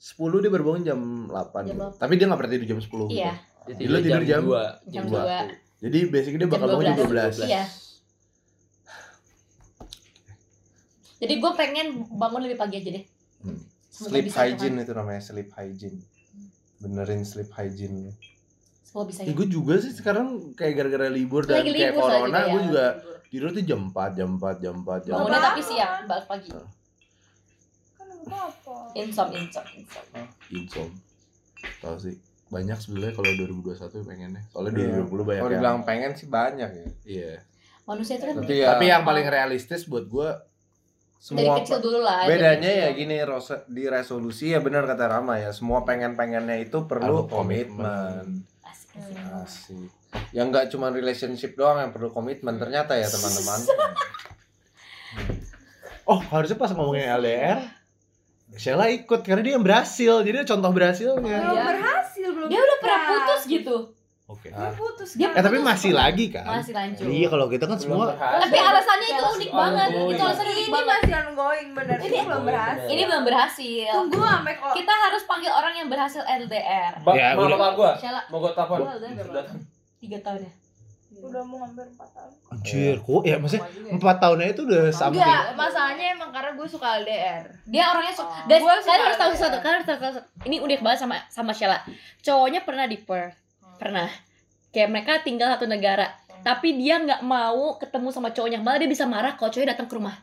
Speaker 2: 10 dia baru bangun jam 8 gitu. Tapi dia gak pernah tidur jam 10 gitu.
Speaker 8: Iya.
Speaker 6: Dia
Speaker 2: Lu tidur jam?
Speaker 6: 2.
Speaker 8: jam
Speaker 2: Jam
Speaker 8: dua
Speaker 2: Jadi basically dia
Speaker 8: Jam
Speaker 2: bakal bangun jam 12.
Speaker 8: 12. Iya. jadi gue pengen bangun lebih pagi aja deh
Speaker 2: Hmm.
Speaker 8: Semoga
Speaker 4: Sleep
Speaker 8: bisa,
Speaker 4: hygiene itu namanya sleep hygiene. Benerin sleep hygiene.
Speaker 8: Tuhan. semoga bisa
Speaker 2: Eh,
Speaker 8: ya
Speaker 2: gue juga sih sekarang kayak gara-gara libur dan
Speaker 8: Lagi
Speaker 2: kayak
Speaker 8: libur soalnya
Speaker 2: corona
Speaker 8: juga ya.
Speaker 2: gue juga tidur tuh jam 4, jam 4, jam 4, jam
Speaker 8: bangunnya
Speaker 2: 4.
Speaker 8: tapi siang ya, balik pagi
Speaker 3: kan gak apa
Speaker 8: insom insom insom
Speaker 2: Insom. Tahu sih banyak sebenarnya kalau 2021 pengennya. Soalnya
Speaker 4: Iya.
Speaker 2: 2020 banyak
Speaker 4: Kalau
Speaker 2: yang-
Speaker 4: dibilang pengen sih banyak ya.
Speaker 2: iya.
Speaker 8: manusia itu kan
Speaker 4: Tapi ya
Speaker 2: Tapi yang paling realistis buat gue
Speaker 8: dari
Speaker 4: semua
Speaker 8: kecil dulu lah dari
Speaker 4: bedanya
Speaker 8: kecil.
Speaker 4: ya gini rose- di resolusi ya benar kata Rama ya semua pengen-pengennya itu perlu
Speaker 2: Perlu komitmen.
Speaker 4: komitmen.
Speaker 8: Asik, asik.
Speaker 3: Hmm.
Speaker 4: Asik. Yang nggak cuma relationship doang yang perlu komitmen ternyata ya teman-teman.
Speaker 1: Oh, harusnya pas ngomongin
Speaker 8: Iya.
Speaker 1: LDR, Sheila ikut karena dia yang berhasil. Jadi dia contoh berhasilnya.
Speaker 3: belum
Speaker 8: Iya.
Speaker 3: berhasil belum
Speaker 8: dia udah pernah
Speaker 3: nikah.
Speaker 8: putus gitu
Speaker 2: Oke.
Speaker 3: dia putus
Speaker 8: Dia
Speaker 1: Eh
Speaker 3: kan?
Speaker 1: tapi masih lagi kan?
Speaker 8: masih lanjut
Speaker 1: Iya kalau kita kan semua
Speaker 4: Iya,
Speaker 8: tapi alasannya itu unik
Speaker 6: Masih
Speaker 8: banget
Speaker 6: ongoing.
Speaker 8: itu alasannya unik
Speaker 3: ini
Speaker 8: banget
Speaker 3: masih ongoing bener ini belum berhasil
Speaker 8: ini belum berhasil
Speaker 3: tunggu Oh, sampai kalau
Speaker 8: kita harus panggil orang yang berhasil LDR
Speaker 1: Ya,
Speaker 6: Ya, mau
Speaker 1: udah.
Speaker 6: apa gua?
Speaker 8: Shella
Speaker 6: Mau gua telepon.
Speaker 8: Gua udah berapa? tiga tahun ya
Speaker 3: udah mau hampir 4 tahun
Speaker 1: anjir. Kok
Speaker 2: Iya,
Speaker 1: ya maksudnya
Speaker 8: Iya.
Speaker 1: empat tahunnya itu udah something.
Speaker 3: enggak masalahnya emang karena gue suka LDR
Speaker 8: dia orangnya su-
Speaker 3: Oh.
Speaker 8: guys
Speaker 3: Gua
Speaker 8: kalian
Speaker 3: suka
Speaker 8: harus tahu
Speaker 3: LDR.
Speaker 8: satu kalian harus tahu satu ini unik banget sama sama Sheila cowoknya pernah di Perth pernah kayak mereka tinggal satu negara tapi dia nggak mau ketemu sama cowoknya malah dia bisa marah kalau cowoknya datang ke rumah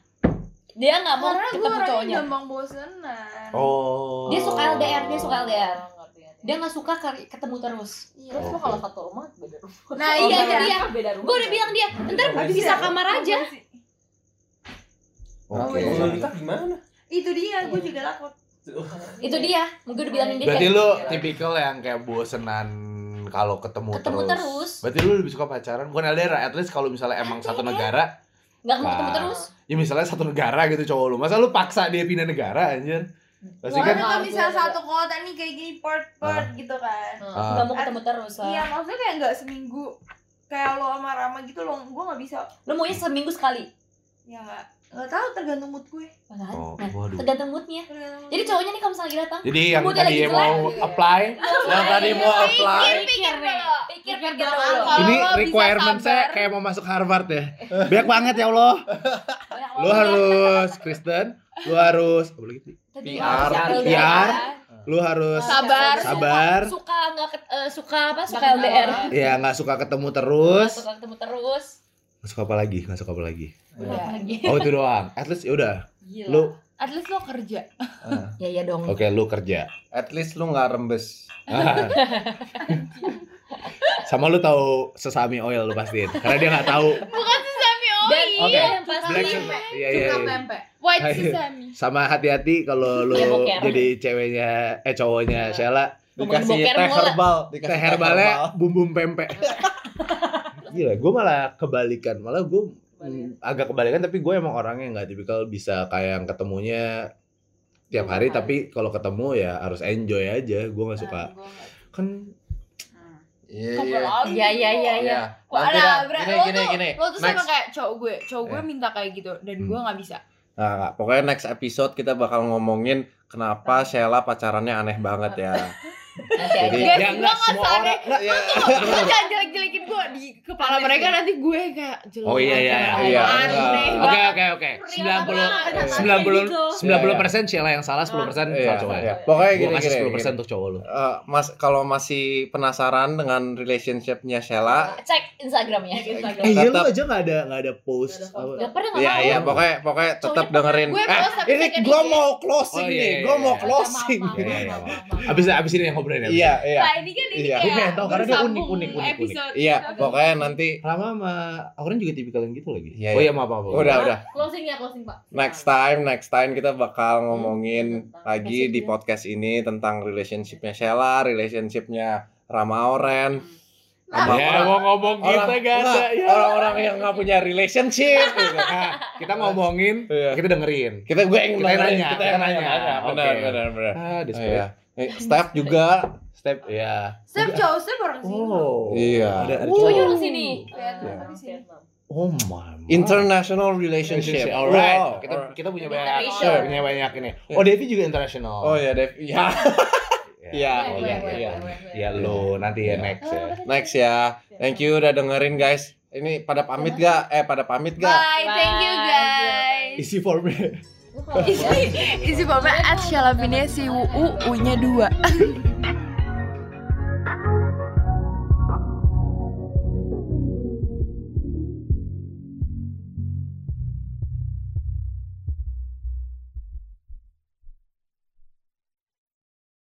Speaker 8: Dia nggak mau
Speaker 3: Karena gue
Speaker 8: ketemu
Speaker 3: orangnya
Speaker 8: cowoknya.
Speaker 3: gampang bosenan.
Speaker 2: Oh.
Speaker 8: Dia suka LDR, dia suka LDR.
Speaker 1: Oh, ngerti, ngerti.
Speaker 8: Dia nggak suka kar- ketemu terus.
Speaker 3: Iya.
Speaker 1: Terus lo kalau satu rumah beda rumah.
Speaker 3: Nah,
Speaker 8: Oh,
Speaker 3: iya
Speaker 8: berarti
Speaker 3: kan.
Speaker 8: dia.
Speaker 1: Beda rumah.
Speaker 8: Gue udah bilang dia, ntar
Speaker 3: Habis
Speaker 8: bisa
Speaker 3: ya.
Speaker 8: kamar aja. Oh,
Speaker 2: Oke.
Speaker 6: Kalau
Speaker 8: iya.
Speaker 6: nikah gimana?
Speaker 3: Itu dia, gue juga takut.
Speaker 8: Itu
Speaker 1: Iya.
Speaker 8: dia. Gue udah bilangin dia.
Speaker 2: Berarti
Speaker 8: kayak,
Speaker 2: lu tipikal yang kayak bosenan kalau ketemu,
Speaker 8: Ketemu terus.
Speaker 2: Berarti lu lebih suka pacaran bukan LDR, at least kalau misalnya emang satu negara,
Speaker 8: nggak mau ketemu
Speaker 2: Nah.
Speaker 8: terus.
Speaker 2: ya misalnya satu negara gitu cowok lu. Masa lu paksa dia pindah negara anjir? Pasti kan
Speaker 3: Soalnya kalau
Speaker 1: Gue
Speaker 3: misalnya
Speaker 1: ada.
Speaker 3: satu kota nih kayak gini port-port gitu kan.
Speaker 2: Ah.
Speaker 8: Nggak mau ketemu terus lah.
Speaker 3: Iya, maksudnya kayak nggak seminggu kayak lo sama Rama gitu lo gue nggak bisa
Speaker 8: Lu maunya seminggu sekali.
Speaker 3: ya nggak nggak tahu tergantung mood gue
Speaker 8: Padahal
Speaker 2: Oh,
Speaker 8: Nah,
Speaker 2: waduh.
Speaker 8: tergantung moodnya.
Speaker 3: tergantung
Speaker 8: Jadi cowoknya nih kalau misalnya lagi datang,
Speaker 2: Jadi yang
Speaker 8: Moodnya
Speaker 2: tadi
Speaker 8: lagi
Speaker 2: mau
Speaker 1: jelek.
Speaker 2: apply, yang tadi mau apply.
Speaker 3: pikir pikir dulu
Speaker 8: pikir pikir
Speaker 3: Pikir
Speaker 8: dulu.
Speaker 3: dulu. Kalau
Speaker 2: Ini
Speaker 3: lo bisa
Speaker 2: requirement saya
Speaker 3: sabar.
Speaker 2: kayak mau masuk Harvard ya. Banyak banget ya Allah. Lu harus Kristen, lu harus apa lagi sih? PR,
Speaker 1: Iya.
Speaker 8: Ya.
Speaker 2: PR, lu harus
Speaker 3: Sabar.
Speaker 2: sabar.
Speaker 8: Suka nggak ket- eh, suka apa? Suka
Speaker 1: kenal
Speaker 8: LDR.
Speaker 1: orang.
Speaker 2: Ya nggak suka ketemu terus.
Speaker 8: Suka ketemu terus.
Speaker 2: Masuk apa lagi? Masuk apa lagi?
Speaker 8: Udah lagi.
Speaker 2: Oh itu doang. At least ya udah. Lu
Speaker 7: At least lo kerja.
Speaker 12: Ya ya dong.
Speaker 2: oke lu
Speaker 3: *laughs*
Speaker 2: kerja.
Speaker 4: At least lu nggak rembes.
Speaker 2: Ah. Sama lu tahu sesami oil lu pastiin. Karena dia nggak tahu.
Speaker 8: Dan
Speaker 2: Oke.
Speaker 8: iya yang pasti
Speaker 2: Black Iya iya.
Speaker 3: Suka
Speaker 2: iya.
Speaker 3: tempe
Speaker 7: White
Speaker 2: Ayo.
Speaker 7: sesame.
Speaker 2: Sama hati-hati kalau lu
Speaker 8: Dia boker.
Speaker 2: jadi ceweknya eh cowoknya Sheila
Speaker 8: Ngomongin
Speaker 4: Dikasih
Speaker 8: boker
Speaker 4: teh
Speaker 8: mulu.
Speaker 4: herbal, Iya, dikasih
Speaker 2: teh herbalnya bumbu pempek. Gila, gue malah kebalikan. Malah gue agak kebalikan tapi gue emang orangnya nggak tipikal bisa kayak yang ketemunya tiap hari tapi kalau ketemu ya harus enjoy aja gue nggak suka kan
Speaker 4: Iya, iya.
Speaker 1: Iya.
Speaker 12: Ya ya ya ya.
Speaker 4: Iya.
Speaker 7: Wah,
Speaker 4: Nanti dah,
Speaker 7: ada, bre,
Speaker 4: gini
Speaker 7: lo
Speaker 4: gini
Speaker 7: tuh-
Speaker 4: gini.
Speaker 7: Lo tuh sama
Speaker 4: Next.
Speaker 7: kayak cowok gue. Cowok
Speaker 2: Eh.
Speaker 7: gue minta kayak gitu dan
Speaker 2: Hmm.
Speaker 7: gue nggak
Speaker 2: *laughs*
Speaker 7: bisa.
Speaker 4: Nah, Kak, pokoknya next episode kita bakal ngomongin kenapa Sheila pacarannya aneh banget ya.
Speaker 2: ya
Speaker 4: Jadi iya.
Speaker 7: Guys, gua
Speaker 2: nggak
Speaker 7: nggak
Speaker 2: semua
Speaker 7: sadar.
Speaker 2: orang nggak, ya.
Speaker 7: Lo jangan jelek-jelekin gue di kepala mereka nanti gue kayak jelek.
Speaker 2: Oh iya iya iya.
Speaker 7: jelek,
Speaker 2: iya.
Speaker 7: Aneh
Speaker 2: Oke
Speaker 7: banget.
Speaker 2: oke oke. Sembilan puluh
Speaker 4: Iya.
Speaker 2: sembilan puluh
Speaker 8: gitu.
Speaker 2: sembilan puluh persen yang salah sepuluh persen
Speaker 4: Iya,
Speaker 2: salah cowok.
Speaker 4: iya. Pokoknya
Speaker 2: Gue
Speaker 4: gini
Speaker 2: kasih
Speaker 4: gini.
Speaker 2: sepuluh
Speaker 4: gini.
Speaker 2: untuk cowok lu.
Speaker 4: Eh, mas kalau masih penasaran dengan relationshipnya Sheila,
Speaker 8: Cek Instagramnya.
Speaker 2: Eh iya lu Oh.
Speaker 4: Tetap-
Speaker 2: aja nggak ada nggak ada post.
Speaker 1: Nggak ada
Speaker 2: apa.
Speaker 8: Gak pernah nggak
Speaker 4: iya
Speaker 8: mau.
Speaker 4: iya pokoknya pokoknya tetap
Speaker 8: Cowoknya
Speaker 4: dengerin.
Speaker 7: Gue
Speaker 4: Eh,
Speaker 7: post tapi
Speaker 4: ini
Speaker 7: second
Speaker 4: gue
Speaker 7: IG.
Speaker 4: mau
Speaker 2: Oh,
Speaker 4: closing
Speaker 2: iya,
Speaker 4: nih,
Speaker 2: iya, iya.
Speaker 4: gue mau
Speaker 2: Maaf,
Speaker 4: closing.
Speaker 2: Iya, iya, iya. Abis abis ini yang ngobrolin. ya, abis.
Speaker 4: Iya iya.
Speaker 7: Nah, ini kan ini
Speaker 4: Iya.
Speaker 7: kayak
Speaker 2: Gue pengen tahu, karena dia
Speaker 7: bersambung
Speaker 2: unik, unik, unik, unik.
Speaker 7: episode.
Speaker 4: Iya, pokoknya nanti
Speaker 2: Rama sama Auron juga tipikal yang gitu lagi.
Speaker 4: Iya,
Speaker 2: oh
Speaker 4: iya.
Speaker 2: iya maaf maaf. maaf.
Speaker 4: udah udah.
Speaker 1: Closing ya closing pak.
Speaker 4: Next time, next time kita bakal ngomongin
Speaker 1: tentang
Speaker 4: lagi di podcast ini tentang relationshipnya Sheila, relationshipnya Rama Oren. Sama
Speaker 2: Ya
Speaker 4: orang-
Speaker 2: mau ngomong
Speaker 4: orang-
Speaker 2: kita gak ada
Speaker 4: enggak,
Speaker 2: ya.
Speaker 4: orang-orang yang nggak punya relationship. gitu.
Speaker 2: Nah, kita ngomongin,
Speaker 4: Iya.
Speaker 2: kita dengerin.
Speaker 4: Kita gue yang
Speaker 2: Kita yang
Speaker 4: nanya,
Speaker 2: nanya,
Speaker 4: kita yang
Speaker 2: kita
Speaker 4: nanya.
Speaker 2: yang nanya.
Speaker 4: Benar,
Speaker 2: Oke.
Speaker 4: benar, benar.
Speaker 2: Ah,
Speaker 4: Oh,
Speaker 2: display.
Speaker 4: Iya. Eh, Step juga, step ya.
Speaker 3: Step
Speaker 8: Iya.
Speaker 3: jauh step orang sini
Speaker 2: iya. Oh.
Speaker 4: Iya.
Speaker 2: Ada, ada
Speaker 8: Cowoknya
Speaker 2: cowok.
Speaker 8: orang sini.
Speaker 3: Vietnam di sini
Speaker 1: Vietnam.
Speaker 2: Oh my. God.
Speaker 4: International relationship.
Speaker 2: Alright.
Speaker 4: Wow.
Speaker 2: Kita kita punya banyak
Speaker 8: International.
Speaker 2: punya banyak ini. Oh, Devi juga international.
Speaker 4: Iya. Oh ya, Dev. Ya. Iya,
Speaker 2: Oh,
Speaker 1: Gue,
Speaker 2: iya,
Speaker 1: gue,
Speaker 2: iya.
Speaker 1: gue, gue.
Speaker 2: Ya lo nanti ya
Speaker 4: Iya.
Speaker 2: next ya.
Speaker 8: Oh,
Speaker 4: Next ya. Thank you udah dengerin guys. Ini pada pamit gak? Eh, pada pamit gak?
Speaker 7: Bye, thank you guys.
Speaker 2: Isi formnya.
Speaker 1: *laughs*
Speaker 7: Isi isi pokoknya at Shalabinesi UU-nya dua.